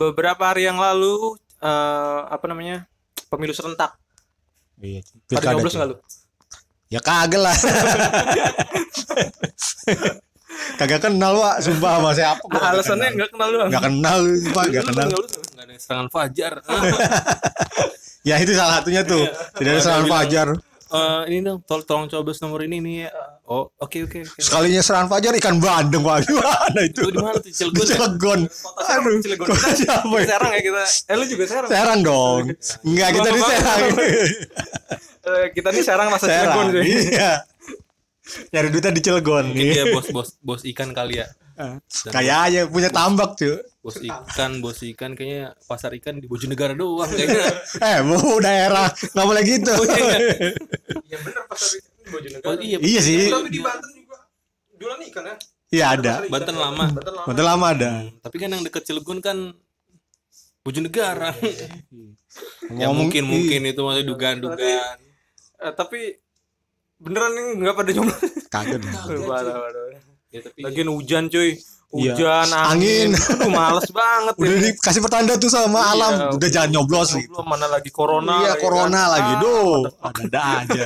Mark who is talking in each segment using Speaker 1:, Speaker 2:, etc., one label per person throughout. Speaker 1: beberapa hari yang lalu eh, apa namanya pemilu serentak.
Speaker 2: Iya.
Speaker 1: Ada
Speaker 2: pilkada
Speaker 1: nyoblos
Speaker 2: tuh.
Speaker 1: nggak lu?
Speaker 2: Ya kagak lah. kagak kenal Wak, sumpah sama siapa. gua
Speaker 1: Ah,
Speaker 2: kagak
Speaker 1: alasannya
Speaker 2: kenal.
Speaker 1: nggak kenal lu.
Speaker 2: Nggak kenal, Pak, nggak kenal.
Speaker 1: Nggak ada serangan fajar. Eh,
Speaker 2: Ya itu salah satunya tuh. Tidak ada
Speaker 1: Iya. Ada
Speaker 2: serangan
Speaker 1: bilang.
Speaker 2: fajar.
Speaker 1: Eh, ini dong, tol tolong coba nomor ini nih. ya. Oh, oke oke oke.
Speaker 2: Sekalinya serangan fajar ikan bandeng Wak. Gimana itu?
Speaker 1: Lu di mana tuh? Cilegon
Speaker 2: Di
Speaker 1: ya?
Speaker 2: Cilegon.
Speaker 1: Kota Serang,
Speaker 2: Aduh,
Speaker 1: Cilegon.
Speaker 2: kota siapa ya?
Speaker 1: Serang ya kita. Eh lu juga Serang.
Speaker 2: Serang dong. Enggak, kita di
Speaker 1: Bang, bang,
Speaker 2: Serang.
Speaker 1: Eh, kita nih Serang rasa
Speaker 2: Serang.
Speaker 1: Cilegon sih.
Speaker 2: Iya. Nyari duitnya di Cilegon. Iya.
Speaker 1: Mungkin dia bos bos bos ikan kali ya.
Speaker 2: Kayaknya punya tambak cuy.
Speaker 1: Bos ikan, bos ikan kayaknya pasar ikan di Bojonegoro doang ya kayaknya.
Speaker 2: Eh, mau daerah nggak boleh gitu.
Speaker 3: Oh, Iya benar pasar ikan di
Speaker 1: Oh,
Speaker 3: Bojonegoro.
Speaker 1: iya.
Speaker 2: Iya sih.
Speaker 3: Tapi di Banten juga jualan ikan ya.
Speaker 2: Iya ada.
Speaker 3: Pasar ikan,
Speaker 1: Banten
Speaker 3: ya.
Speaker 1: lama.
Speaker 3: Banten lama.
Speaker 2: Mantel lama ada.
Speaker 1: Tapi kan yang deket Cilegon kan Bojonegara.
Speaker 2: Iya.
Speaker 1: ya
Speaker 2: Ngomong-
Speaker 1: mungkin mungkin itu masih dugaan-dugaan.
Speaker 3: Eh, tapi beneran nih nggak pada jomblo.
Speaker 2: Ih, Kagak deh.
Speaker 3: Parah, parah.
Speaker 1: Ya tapi
Speaker 3: Lagian hujan cuy.
Speaker 2: Iya.
Speaker 3: Hujan, angin. Aduh, males banget.
Speaker 2: Udah dikasih pertanda tuh sama
Speaker 3: Iya,
Speaker 2: alam, udah
Speaker 3: udah.
Speaker 2: jangan nyoblos gitu.
Speaker 3: Belum mana lagi corona. ya
Speaker 2: iya, corona
Speaker 3: kan.
Speaker 2: lagi. Duh, ada-ada aja.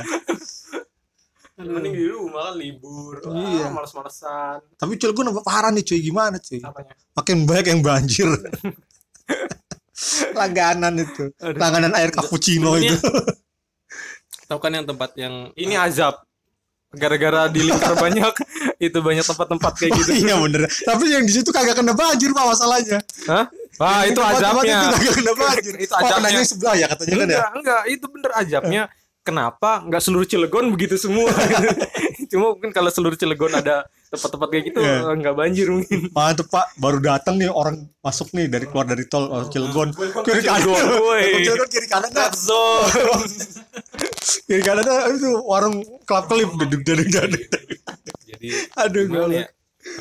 Speaker 3: Ah, Mending di rumah kan libur. Ah,
Speaker 2: Iya.
Speaker 3: males-malesan.
Speaker 2: Tapi cuy, gue nambah parah nih cuy, gimana cuy?
Speaker 3: Apanya?
Speaker 2: Makin banyak yang banjir. Langganan itu. Langganan air cappuccino itu.
Speaker 1: tahu kan yang tempat yang
Speaker 3: Ini azab. Gara-gara di lingkar banyak, itu banyak tempat-tempat kayak gitu.
Speaker 2: iya bener. Tapi yang di situ kagak kena banjir pak masalahnya.
Speaker 3: Hah? Wah, itu
Speaker 2: Tempat-tempat
Speaker 3: azabnya.
Speaker 2: Itu kagak kena banjir.
Speaker 3: Itu
Speaker 2: Oh,
Speaker 3: azabnya.
Speaker 2: kenanya sebelah ya katanya kan ya.
Speaker 3: Enggak, enggak, itu bener ajabnya. Kenapa nggak seluruh Cilegon begitu semua? Cuma mungkin kalau seluruh Cilegon ada tempat-tempat kayak gitu
Speaker 2: Iya.
Speaker 3: nggak banjir mungkin.
Speaker 2: Mantep pak, baru datang nih orang masuk nih dari keluar dari tol orang Cilegon kiri kanan,
Speaker 3: Cilegon, woi.
Speaker 2: Orang Cilegon kiri kanan dah,
Speaker 3: zone.
Speaker 2: kiri kanan dah, itu warung kelap kelip deduk deduk deduk. deduk.
Speaker 1: jadi
Speaker 2: Aduh
Speaker 1: gimana
Speaker 2: gue
Speaker 1: ya?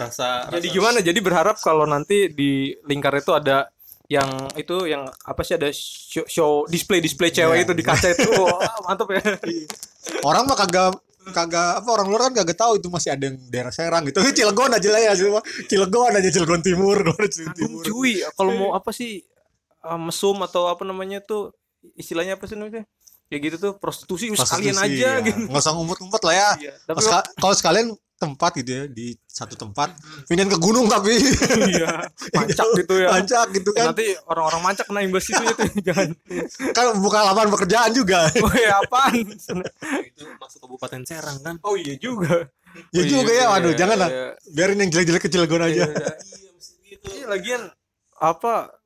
Speaker 1: Rasa
Speaker 3: Jadi
Speaker 1: rasa-
Speaker 3: gimana? Jadi berharap kalau nanti di lingkar itu ada yang itu yang apa sih ada show, show display display cewek
Speaker 2: Iya.
Speaker 3: itu di kaca itu wah, mantep ya
Speaker 2: orang mah kagak kagak apa orang luar kan kagak tahu itu masih ada yang daerah Serang gitu. Cilegon aja lah ya semua. Cilegon aja Cilegon Timur, keluar Cilegon Timur.
Speaker 3: cuy kalau
Speaker 2: Iya.
Speaker 3: mau apa sih eh, mesum atau apa namanya tuh istilahnya apa sih namanya ya gitu tuh prostitusi,
Speaker 2: Pas itu
Speaker 3: sekalian
Speaker 2: sih,
Speaker 3: aja
Speaker 2: ya.
Speaker 3: gitu
Speaker 2: Nggak usah ngumpet-ngumpet lah ya.
Speaker 3: Iya,
Speaker 2: Kalau
Speaker 3: tapi
Speaker 2: seka- Kalau sekalian tempat gitu ya di satu tempat pindahin ke gunung tapi
Speaker 3: iya Hmm. pancak gitu ya
Speaker 2: Pancak gitu kan.
Speaker 3: nanti orang-orang mancak kena imbas itu ya tuh jangan
Speaker 2: kan buka lapangan pekerjaan juga.
Speaker 3: woi apaan
Speaker 1: itu masuk kabupaten Serang kan
Speaker 3: oh iya juga Iya,
Speaker 2: ya juga ya,
Speaker 3: iya,
Speaker 2: waduh,
Speaker 3: iya,
Speaker 2: jangan lah.
Speaker 3: iya.
Speaker 2: Biarin yang jelek-jelek kecil gue aja.
Speaker 1: iya mesti gitu
Speaker 3: Iya, lagian apa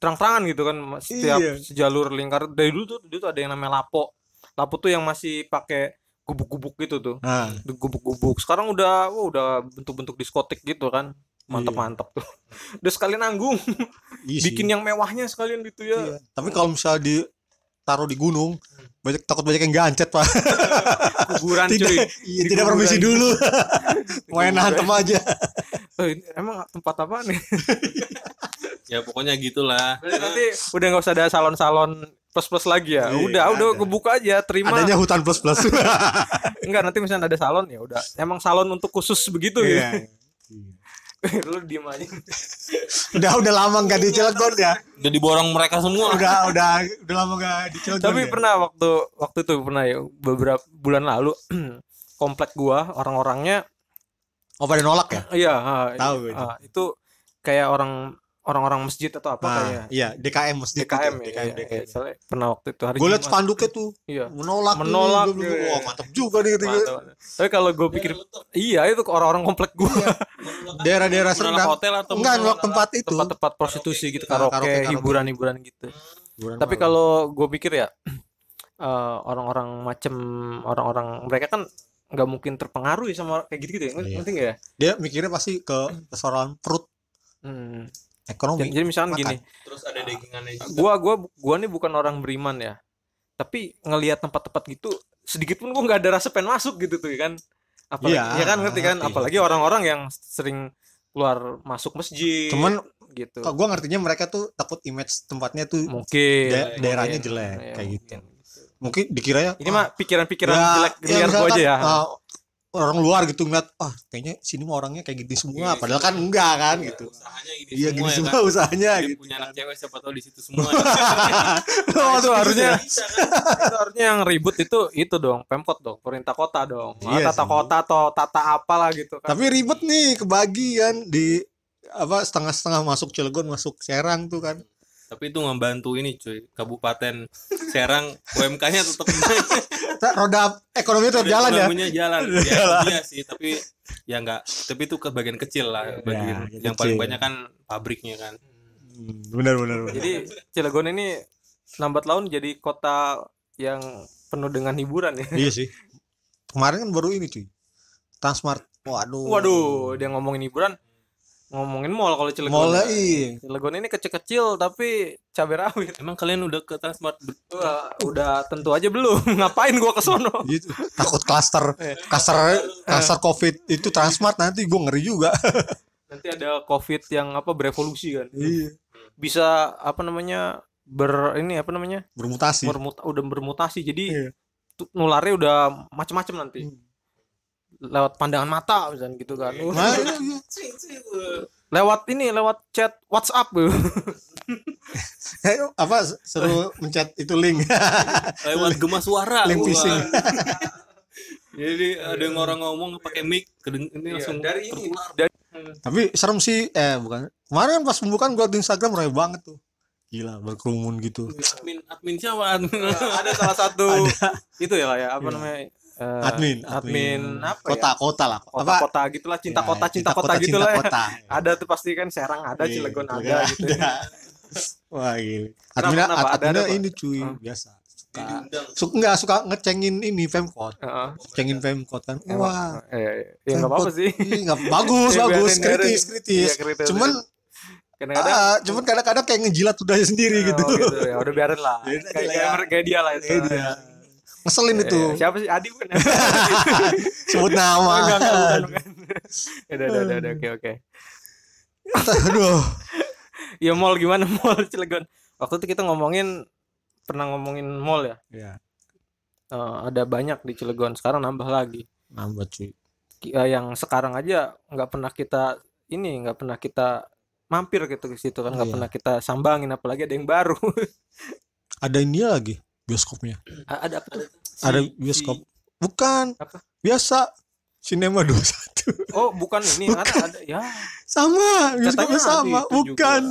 Speaker 3: terang-terangan gitu kan setiap
Speaker 2: Iya.
Speaker 3: sejalur lingkar dari dulu tuh dulu tuh ada yang namanya lapo lapo tuh yang masih pakai gubuk-gubuk gitu tuh
Speaker 2: Nah,
Speaker 3: gubuk-gubuk sekarang udah wah, udah bentuk-bentuk diskotik gitu kan mantep-mantep tuh udah sekalian nanggung
Speaker 2: iya
Speaker 3: bikin yang mewahnya sekalian gitu ya
Speaker 2: Iya. Tapi kalau misalnya di taruh di gunung, banyak takut banyak yang gancet, Pak.
Speaker 3: kuburan cuy
Speaker 2: tidak iya,
Speaker 3: Di
Speaker 2: tidak
Speaker 3: kuburan. gitu.
Speaker 2: permisi dulu. Main
Speaker 3: kuburan.
Speaker 2: hantem aja.
Speaker 3: Eh, ini emang tempat apa nih
Speaker 1: ya pokoknya gitulah
Speaker 2: Iya.
Speaker 3: Berarti nanti udah nggak usah ada salon-salon plus-plus lagi ya.
Speaker 2: Iya,
Speaker 3: udah,
Speaker 2: nggak
Speaker 3: udah
Speaker 2: ada.
Speaker 3: kebuka aja, terima.
Speaker 2: Adanya hutan plus-plus.
Speaker 3: Iya. Enggak, nanti misalnya ada salon ya udah. Emang salon untuk khusus begitu ya.
Speaker 2: Iya.
Speaker 3: Lu diem aja.
Speaker 2: udah udah lama nggak di Cilegon
Speaker 3: Iya.
Speaker 2: ya.
Speaker 1: udah diborong mereka semua
Speaker 2: Udah udah udah lama nggak di Cilegon.
Speaker 3: Tapi
Speaker 2: ya?
Speaker 3: pernah waktu waktu itu pernah ya beberapa bulan lalu komplek gua orang-orangnya
Speaker 2: Oh pada nolak ya?
Speaker 3: iya, ah,
Speaker 2: Tahu gue itu.
Speaker 3: ah, itu kayak orang orang-orang masjid atau apa
Speaker 2: Nah,
Speaker 3: kayak
Speaker 2: iya DKM masjid
Speaker 3: DKM
Speaker 2: itu,
Speaker 3: ya.
Speaker 2: DKM,
Speaker 3: iya, iya. Soalnya pernah waktu itu hari
Speaker 2: Gue liat
Speaker 3: Jumat.
Speaker 2: spanduknya tuh
Speaker 3: Iya.
Speaker 2: menolak tuh.
Speaker 3: Menolak,
Speaker 2: Gua bilang,
Speaker 3: iya.
Speaker 2: wah mantap juga nih gitu.
Speaker 3: Mantap. Tapi kalau gue pikir iya itu orang-orang komplek gua
Speaker 2: Iya. daerah-daerah
Speaker 1: menolak
Speaker 2: Serdang
Speaker 1: hotel atau
Speaker 2: enggak nolak
Speaker 1: menolak
Speaker 2: tempat itu
Speaker 3: tempat-tempat prostitusi gitu
Speaker 2: Ah,
Speaker 3: karaoke,
Speaker 2: karaoke, karaoke.
Speaker 3: hiburan-hiburan gitu. Tapi kalau gue pikir ya eh, orang-orang macem orang-orang mereka kan nggak mungkin terpengaruh ya sama kayak gitu-gitu ya.
Speaker 2: Iya.
Speaker 3: Ngerti nggak ya?
Speaker 2: dia mikirnya pasti ke persoalan perut
Speaker 3: Hmm. Jadi,
Speaker 2: ekonomi
Speaker 3: jadi misalnya
Speaker 2: Makan.
Speaker 3: gini,
Speaker 1: terus ada dagingannya juga
Speaker 3: gua gua gua nih bukan orang beriman ya. Tapi ngelihat tempat-tempat gitu sedikit pun gua nggak ada rasa pengen masuk gitu tuh ya kan. Apalagi
Speaker 2: Iya,
Speaker 3: ya kan ngerti kan
Speaker 2: ngerti.
Speaker 3: apalagi orang-orang yang sering keluar masuk masjid
Speaker 2: cuman
Speaker 3: gitu.
Speaker 2: gue ngertinya mereka tuh takut image tempatnya tuh
Speaker 3: Mungkin
Speaker 2: da-
Speaker 3: mungkin.
Speaker 2: daerahnya jelek
Speaker 3: Iya,
Speaker 2: kayak gitu
Speaker 3: mungkin.
Speaker 2: mungkin dikiranya
Speaker 3: Ini
Speaker 2: ah,
Speaker 3: mah pikiran-pikiran
Speaker 2: ya,
Speaker 3: jelek
Speaker 2: ya
Speaker 3: liar gua
Speaker 2: misalkan,
Speaker 3: aja ya.
Speaker 2: ah, orang luar gitu ngeliat ah kayaknya sini mah orangnya kayak gini
Speaker 3: Iya,
Speaker 2: semua
Speaker 1: Oke.
Speaker 2: padahal kan enggak kan
Speaker 1: Iya,
Speaker 2: gitu
Speaker 1: usahanya
Speaker 2: iya
Speaker 1: gini semua
Speaker 2: gini
Speaker 1: ya
Speaker 2: semua
Speaker 1: kan?
Speaker 2: usahanya
Speaker 3: Iya,
Speaker 1: Dia
Speaker 2: gitu
Speaker 1: punya
Speaker 2: kan.
Speaker 1: anak cewek siapa tahu di situ semua Iya, kan?
Speaker 2: Oh,
Speaker 3: itu harusnya
Speaker 1: bisa kan
Speaker 3: itu harusnya yang ribut itu itu dong pemkot dong perintah kota dong Ah,
Speaker 2: Iya
Speaker 3: tata
Speaker 2: sih.
Speaker 3: kota atau tata apalah gitu kan
Speaker 2: tapi ribet nih kebagian di apa setengah-setengah masuk Cilegon masuk Serang tuh kan
Speaker 1: tapi itu ngebantu ini cuy kabupaten Serang UMK-nya tetap
Speaker 2: Ta- roda ekonomi tetap jalan ya
Speaker 1: punya jalan
Speaker 2: Udah
Speaker 1: ya,
Speaker 2: jalan.
Speaker 1: iya sih tapi ya enggak tapi itu ke bagian kecil lah bagian
Speaker 2: bagian
Speaker 1: yang paling
Speaker 2: Iya, kecil.
Speaker 1: banyak kan pabriknya kan
Speaker 2: Hmm, benar benar benar.
Speaker 3: jadi Cilegon ini lambat laun jadi kota yang penuh dengan hiburan ya
Speaker 2: iya sih kemarin kan baru ini cuy Transmart waduh Hmm.
Speaker 3: waduh dia ngomongin hiburan ngomongin mall kalau Cilegon ya.
Speaker 2: mulai iya.
Speaker 3: Cilegon ini kecil-kecil tapi cabai rawit
Speaker 1: emang kalian udah ke Transmart
Speaker 3: Wah, udah tentu aja belum ngapain gua ke sono
Speaker 2: Gitu. takut klaster klaster klaster covid itu Transmart nanti gue ngeri juga
Speaker 3: nanti ada covid yang apa berevolusi kan
Speaker 2: iya
Speaker 3: bisa apa namanya ber ini apa namanya
Speaker 2: bermutasi
Speaker 3: bermuta, udah bermutasi
Speaker 2: Iya.
Speaker 3: jadi tu- nularnya udah macem-macem nanti
Speaker 2: Hmm.
Speaker 3: lewat pandangan mata misalnya gitu kan Uh,
Speaker 2: Nah, iya, iya.
Speaker 3: lewat ini lewat chat WhatsApp
Speaker 2: Iya.
Speaker 3: uh.
Speaker 2: Eh, apa seru mencet itu link
Speaker 1: lewat gemas suara
Speaker 2: link
Speaker 1: wah.
Speaker 2: phishing
Speaker 1: jadi ada yang orang ngomong pakai mic kedeng ini langsung Iya, dari ini
Speaker 2: tapi serem sih eh bukan kemarin kan pas pembukaan gue di Instagram ramai banget tuh gila berkerumun gitu
Speaker 1: admin admin siapa admin
Speaker 3: ada salah satu itu ya lah ya apa namanya eh,
Speaker 2: Iya. admin
Speaker 3: admin, apa
Speaker 2: kota
Speaker 3: ya
Speaker 2: kota lah apa
Speaker 3: kota-kota gitulah cinta
Speaker 2: Ya,
Speaker 3: kota cinta, kota, gitu lah ya.
Speaker 2: kota.
Speaker 3: ada tuh pasti kan Serang ada
Speaker 2: Iya,
Speaker 3: Cilegon
Speaker 2: Cilegon
Speaker 3: ada gitu ya.
Speaker 2: ada. Wah gila.
Speaker 3: Kenapa,
Speaker 2: Adminnya,
Speaker 3: kenapa? Ada,
Speaker 2: adminnya
Speaker 3: ada, Pak?
Speaker 2: ini cuy
Speaker 3: Hmm.
Speaker 2: biasa. Suka, suka enggak suka ngecengin ini Femcode.
Speaker 3: Heeh.
Speaker 2: Cengin
Speaker 3: Iya.
Speaker 2: Femcode kan. Wah.
Speaker 3: Emang, eh, ya nggak apa-apa
Speaker 2: Femcode.
Speaker 3: sih
Speaker 2: Ih, nggak- bagus,
Speaker 3: Iya,
Speaker 2: bagus,
Speaker 3: biarin,
Speaker 2: kritis,
Speaker 3: biarin.
Speaker 2: kritis.
Speaker 3: Iya, kritis.
Speaker 2: Cuman
Speaker 3: kadang-kadang
Speaker 2: ah, cuman kadang-kadang kayak ngejilat udahnya sendiri gitu.
Speaker 3: Oh, ya udah biarin lah
Speaker 2: Biarin aja
Speaker 3: kayak
Speaker 2: lah ya.
Speaker 3: kayak- kayak dia lah itu
Speaker 2: Kayak dia. Iya. Ngeselin itu.
Speaker 3: Eh, siapa sih Adi bukan ya? Oh,
Speaker 2: Sebut nama.
Speaker 3: enggak, enggak, bukan, bukan. Udah, udah, udah, udah, oke, oke.
Speaker 2: Aduh.
Speaker 3: Ya mall gimana mall Cilegon? Waktu itu kita ngomongin pernah ngomongin mall ya.
Speaker 2: Ya,
Speaker 3: Eh, ada banyak di Cilegon. Sekarang nambah lagi.
Speaker 2: nambah cuy.
Speaker 3: Ki- eh, yang sekarang aja nggak pernah kita ini, nggak pernah kita mampir gitu ke situ kan, nggak
Speaker 2: Iya.
Speaker 3: pernah kita sambangin apalagi ada yang baru.
Speaker 2: Ada ini lagi bioskopnya.
Speaker 3: A- ada apa tuh?
Speaker 2: Ada bioskop. Bukan.
Speaker 3: Apa?
Speaker 2: Biasa. Cinema 21.
Speaker 3: Oh, bukan ini. Ada, ada ya.
Speaker 2: sama
Speaker 3: Katanya ada
Speaker 2: bioskopnya sama
Speaker 3: itu
Speaker 2: bukan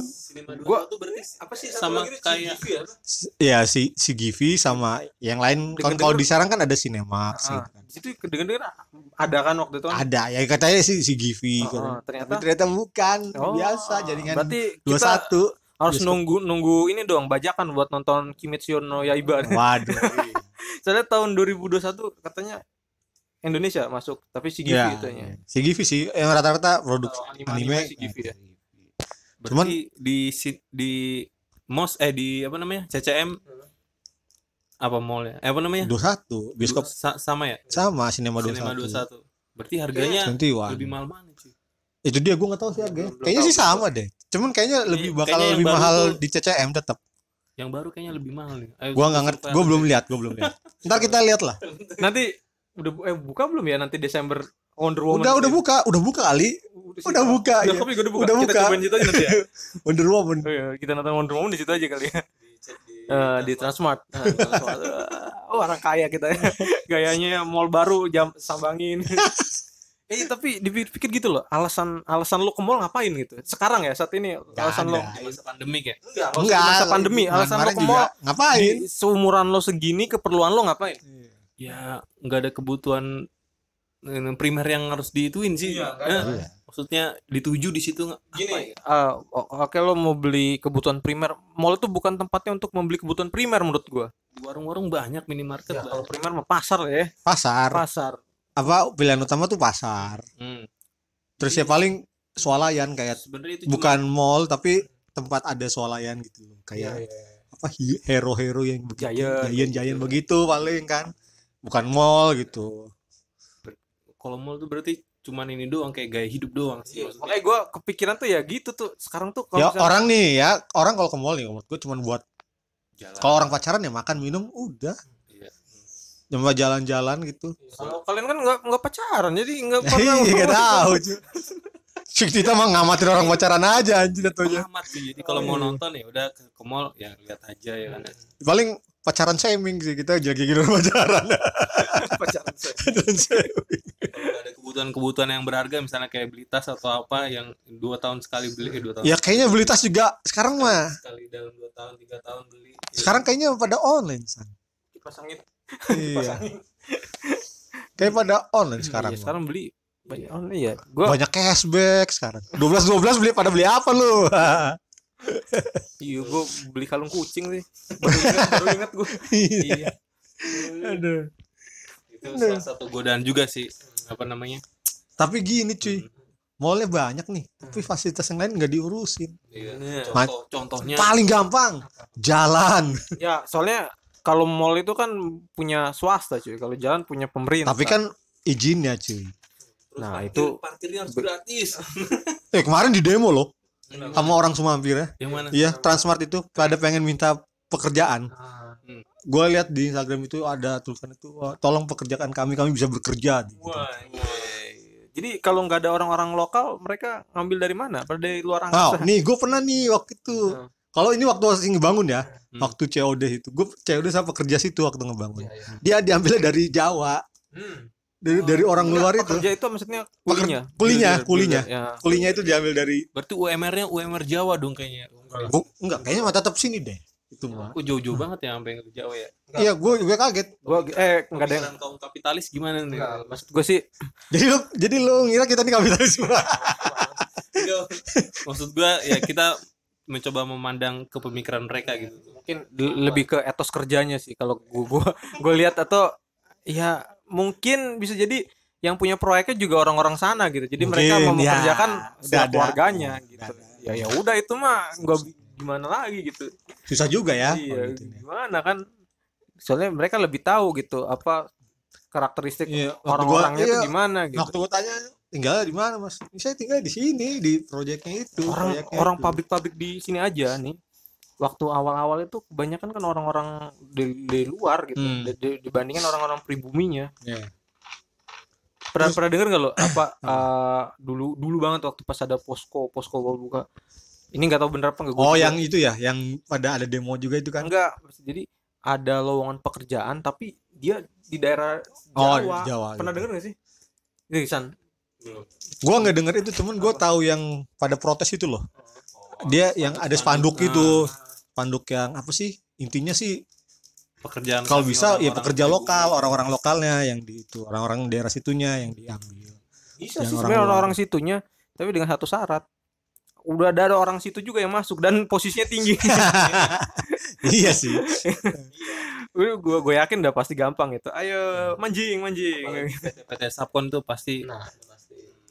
Speaker 1: gua tuh berarti apa sih sama kayak
Speaker 2: S- ya si si Givi sama yang lain kan
Speaker 3: Dengar-dengar-
Speaker 2: kalau di Serang kan ada sinema sih kan.
Speaker 3: Ah, itu kedengeran ada kan waktu itu kan?
Speaker 2: ada ya katanya si si Givi
Speaker 3: Oh,
Speaker 2: kan.
Speaker 3: oh, ternyata-
Speaker 2: Tapi ternyata bukan
Speaker 3: Oh,
Speaker 2: biasa jaringan
Speaker 3: berarti
Speaker 2: dua
Speaker 3: kita
Speaker 2: satu
Speaker 3: harus
Speaker 2: bioskop.
Speaker 3: nunggu nunggu ini dong bajakan buat nonton Kimetsu no Yaiba.
Speaker 2: waduh
Speaker 3: Soalnya tahun 2021 katanya Indonesia masuk tapi si Givi
Speaker 2: ya
Speaker 3: katanya.
Speaker 2: si Givi sih yang rata-rata produk
Speaker 3: Kalau Oh, anime- anime
Speaker 2: anime
Speaker 3: si Givi ya.
Speaker 1: berarti
Speaker 2: Cuman-
Speaker 1: di si- di mos eh di apa namanya CCM apa mall ya eh, apa namanya
Speaker 2: dua satu bioskop
Speaker 1: Sa- sama ya
Speaker 2: sama sinema dua Iya.
Speaker 1: Cinema 21 berarti harganya lebih mahal mana cuy
Speaker 2: itu dia gue nggak tahu sih harganya
Speaker 3: Belum
Speaker 2: kayaknya
Speaker 3: tahu.
Speaker 2: sih sama deh cuman kayaknya lebih bakal
Speaker 1: kayaknya yang
Speaker 2: lebih
Speaker 1: baru
Speaker 2: mahal
Speaker 1: tuh-
Speaker 2: di CCM tetap
Speaker 1: yang baru kayaknya lebih mahal nih Ayo,
Speaker 2: gua
Speaker 1: kita
Speaker 2: nggak ngerti
Speaker 1: survei
Speaker 2: gue
Speaker 1: aja.
Speaker 2: belum lihat gue belum lihat ntar kita lihat lah
Speaker 3: Nanti udah bu- eh buka belum ya nanti Desember Wonder Woman.
Speaker 2: udah udah buka udah buka kali
Speaker 3: Udah,
Speaker 2: udah buka,
Speaker 3: Udah,
Speaker 2: iya.
Speaker 3: kopi gua udah buka.
Speaker 2: Udah
Speaker 3: Kita
Speaker 2: buka.
Speaker 3: cobain situ aja nanti ya.
Speaker 2: Wonder Woman
Speaker 3: Oh iya, kita nonton Wonder Woman di situ aja kali ya. Eh, di Transmart. Eh, Transmart. oh, orang kaya kita ya. Gayanya mall baru jam sambangin. eh tapi dipikir gitu loh, alasan alasan lu ke mall ngapain gitu? Sekarang ya saat ini alasan lu
Speaker 2: ada.
Speaker 1: Di masa pandemik ya
Speaker 3: enggak, kalau masa pandemi,
Speaker 2: bulan
Speaker 3: alasan lu
Speaker 2: kemarin
Speaker 3: ke
Speaker 2: juga.
Speaker 3: mall
Speaker 2: ngapain
Speaker 3: di seumuran lo segini keperluan lo ngapain?
Speaker 1: ya nggak ada kebutuhan eh, primer yang harus diituin sih
Speaker 3: Iya, nggak
Speaker 1: Eh,
Speaker 2: Iya.
Speaker 1: maksudnya dituju di situ nggak- ya?
Speaker 3: Gini, eh, o- oke lo mau beli kebutuhan primer, mall itu bukan tempatnya untuk membeli kebutuhan primer menurut gua.
Speaker 1: di warung-warung banyak minimarket
Speaker 3: Ya, kalau
Speaker 1: banyak.
Speaker 3: primer mah pasar ya,
Speaker 2: pasar
Speaker 3: pasar.
Speaker 2: apa pilihan utama tuh pasar
Speaker 1: Hmm.
Speaker 2: terus
Speaker 3: Iya.
Speaker 2: ya paling swalayan kayak
Speaker 1: sebenarnya itu cuma-
Speaker 2: bukan mall tapi tempat ada swalayan gitu loh. kayak apa hi- hero-hero yang begitu
Speaker 3: Iya. Giant. gitu.
Speaker 2: jayan-jayan begitu paling kan bukan mall gitu
Speaker 1: kalau mall tuh berarti cuman ini doang kayak gaya hidup doang
Speaker 3: Iya,
Speaker 1: sih maksudnya.
Speaker 3: Makanya gue kepikiran tuh ya gitu tuh sekarang tuh
Speaker 2: ya
Speaker 3: kalau misalnya-
Speaker 2: orang nih ya orang kalau ke mall nih menurut gue cuma buat
Speaker 1: Jalan.
Speaker 2: kalau orang pacaran ya makan minum udah
Speaker 1: Iya.
Speaker 2: Cuma jalan-jalan gitu.
Speaker 3: Kalau kalian kan nggak nggak pacaran jadi nggak pernah. gitu?
Speaker 2: Iya gak tahu. cuy. Cik Tita mah ngamatin orang pacaran aja anjir atunya.
Speaker 1: Amat sih. Jadi kalau mau
Speaker 2: Oh, iya.
Speaker 1: nonton ya udah ke, ke mall ya lihat aja ya kan.
Speaker 2: Paling pacaran shaming sih kita jelek-jelekin orang pacaran.
Speaker 3: pacaran saya.
Speaker 2: Pacaran shaming.
Speaker 1: Kalau ada kebutuhan-kebutuhan yang berharga misalnya kayak beli tas atau apa yang dua tahun sekali beli eh, dua tahun
Speaker 2: ya kayaknya beli tas juga sekarang
Speaker 3: Iya.
Speaker 2: mah.
Speaker 1: sekali dalam dua tahun tiga tahun beli. Ya,
Speaker 3: kan
Speaker 2: Sekarang kayaknya pada online san.
Speaker 3: Dipasangin.
Speaker 2: Iya. Kayak pada online sekarang.
Speaker 3: Iya,
Speaker 2: mah.
Speaker 3: sekarang beli banyak oh iya. Gua
Speaker 2: Banyak cashback sekarang. 12 12 beli pada beli apa lu?
Speaker 3: iya gua beli kalung kucing sih. Baru ingat, baru ingat gua. Iya.
Speaker 2: Aduh.
Speaker 1: itu salah satu godaan juga sih apa namanya?
Speaker 2: Tapi gini cuy. Mallnya banyak nih, tapi
Speaker 3: Hmm.
Speaker 2: fasilitas yang lain nggak diurusin.
Speaker 1: Iya.
Speaker 2: Ma-
Speaker 1: Contoh, contohnya
Speaker 2: Paling gampang jalan.
Speaker 3: Ya, soalnya kalau mall itu kan punya swasta cuy. Kalau jalan punya pemerintah.
Speaker 2: Tapi kan izinnya cuy.
Speaker 1: terus
Speaker 3: nah,
Speaker 1: parkir-
Speaker 3: itu-
Speaker 1: parkirnya harus
Speaker 3: be-
Speaker 1: gratis.
Speaker 2: Eh kemarin di demo loh
Speaker 1: Kenapa?
Speaker 2: sama orang Sumampir ya.
Speaker 1: yang mana?
Speaker 2: Iya, Transmart itu pada pengen minta pekerjaan.
Speaker 3: Ah.
Speaker 2: Gue lihat di Instagram itu ada tulisan itu "Wah, tolong pekerjaan kami, kami bisa bekerja. gitu.
Speaker 1: Wah, iya.
Speaker 3: Iya. Jadi kalau nggak ada orang-orang lokal, mereka ngambil dari mana? Pada dari luar
Speaker 2: Wow,
Speaker 3: angkasa. Iya.
Speaker 2: nih gue pernah nih waktu itu. Kalau ini waktu asing bangun ya,
Speaker 1: Hmm.
Speaker 2: waktu COD itu, gue COD saya pekerja situ waktu ngebangun.
Speaker 3: Iya.
Speaker 2: Dia diambilnya dari Jawa,
Speaker 1: Hmm.
Speaker 2: dari dari
Speaker 3: Oh,
Speaker 2: orang luar itu.
Speaker 3: Kerja itu maksudnya kulinya.
Speaker 2: kulinya,
Speaker 3: Builder,
Speaker 2: kulinya.
Speaker 3: builder, ya.
Speaker 2: Kulinya itu diambil dari,
Speaker 1: Berarti UMR-nya UMR Jawa dong kayaknya.
Speaker 2: Gua- enggak kayaknya mah tetap sini deh.
Speaker 3: gitu,
Speaker 2: Itu mah.
Speaker 1: Kok jauh-jauh banget ya sampai ke Jawa ya?
Speaker 2: Iya, gue gue kaget.
Speaker 3: Gua eh nggak ada yang
Speaker 1: Pemikiran kaum kapitalis gimana nih?
Speaker 3: Nggak, maksud gue sih
Speaker 2: Jadi lu jadi lu ngira kita nih kapitalis semua.
Speaker 1: Enggak. Maksud gua ya kita mencoba memandang ke pemikiran mereka gitu.
Speaker 3: mungkin le- lebih ke etos kerjanya sih kalau gue gue gue lihat atau ya mungkin bisa jadi yang punya proyeknya juga orang-orang sana gitu jadi mereka
Speaker 2: Mungkin,
Speaker 3: mau
Speaker 2: ya.
Speaker 3: mengerjakan
Speaker 2: Udah
Speaker 3: setiap
Speaker 2: ada.
Speaker 3: keluarganya gitu
Speaker 2: Udah ada.
Speaker 3: ya ya udah itu mah gue gimana lagi gitu
Speaker 2: Susah juga ya. kalau
Speaker 3: iya
Speaker 2: gitu ya.
Speaker 3: gimana kan soalnya mereka lebih tahu gitu apa karakteristik
Speaker 2: Iya, waktu
Speaker 3: orang-orangnya
Speaker 2: gua-
Speaker 3: itu
Speaker 2: iya.
Speaker 3: gimana gitu
Speaker 2: Waktu gue tanya tinggal di mana mas? Saya tinggal di sini di proyeknya itu.
Speaker 3: orang
Speaker 2: proyeknya
Speaker 3: orang
Speaker 2: itu.
Speaker 3: pabrik-pabrik di sini aja nih waktu awal-awal itu kebanyakan kan orang-orang di, di luar gitu
Speaker 2: Hmm.
Speaker 3: di- di- dibandingkan orang-orang pribuminya
Speaker 2: Iya.
Speaker 3: pernah pernah dengar nggak lo apa eh, dulu dulu banget waktu pas ada posko posko baru buka ini nggak tahu bener apa nggak gua
Speaker 2: Oh
Speaker 3: juga.
Speaker 2: yang itu ya, yang pada ada demo juga itu kan?
Speaker 3: enggak jadi ada lowongan pekerjaan tapi dia di daerah
Speaker 2: Oh,
Speaker 3: Jawa,
Speaker 2: di Jawa,
Speaker 3: pernah
Speaker 2: gitu.
Speaker 3: dengar nggak sih Nih, San.
Speaker 2: Gua nggak denger itu, cuman gua tahu yang pada protes itu loh. Dia yang ada spanduk itu, spanduk yang apa sih? Intinya sih
Speaker 1: Pekerjaan
Speaker 2: kalau
Speaker 1: kami
Speaker 2: bisa ya
Speaker 1: orang-orang
Speaker 2: pekerja
Speaker 1: pribumi.
Speaker 2: lokal, orang-orang lokalnya yang di itu, orang-orang daerah situnya yang diambil.
Speaker 3: bisa sih
Speaker 2: Dan orang
Speaker 3: sebenarnya
Speaker 2: luar.
Speaker 3: orang-orang situnya tapi dengan satu syarat udah ada orang situ juga yang masuk dan posisinya tinggi
Speaker 2: iya sih.
Speaker 3: Udah, gua gue yakin udah pasti gampang gitu ayo manjing manjing
Speaker 1: PT gitu. Sapkon tuh pasti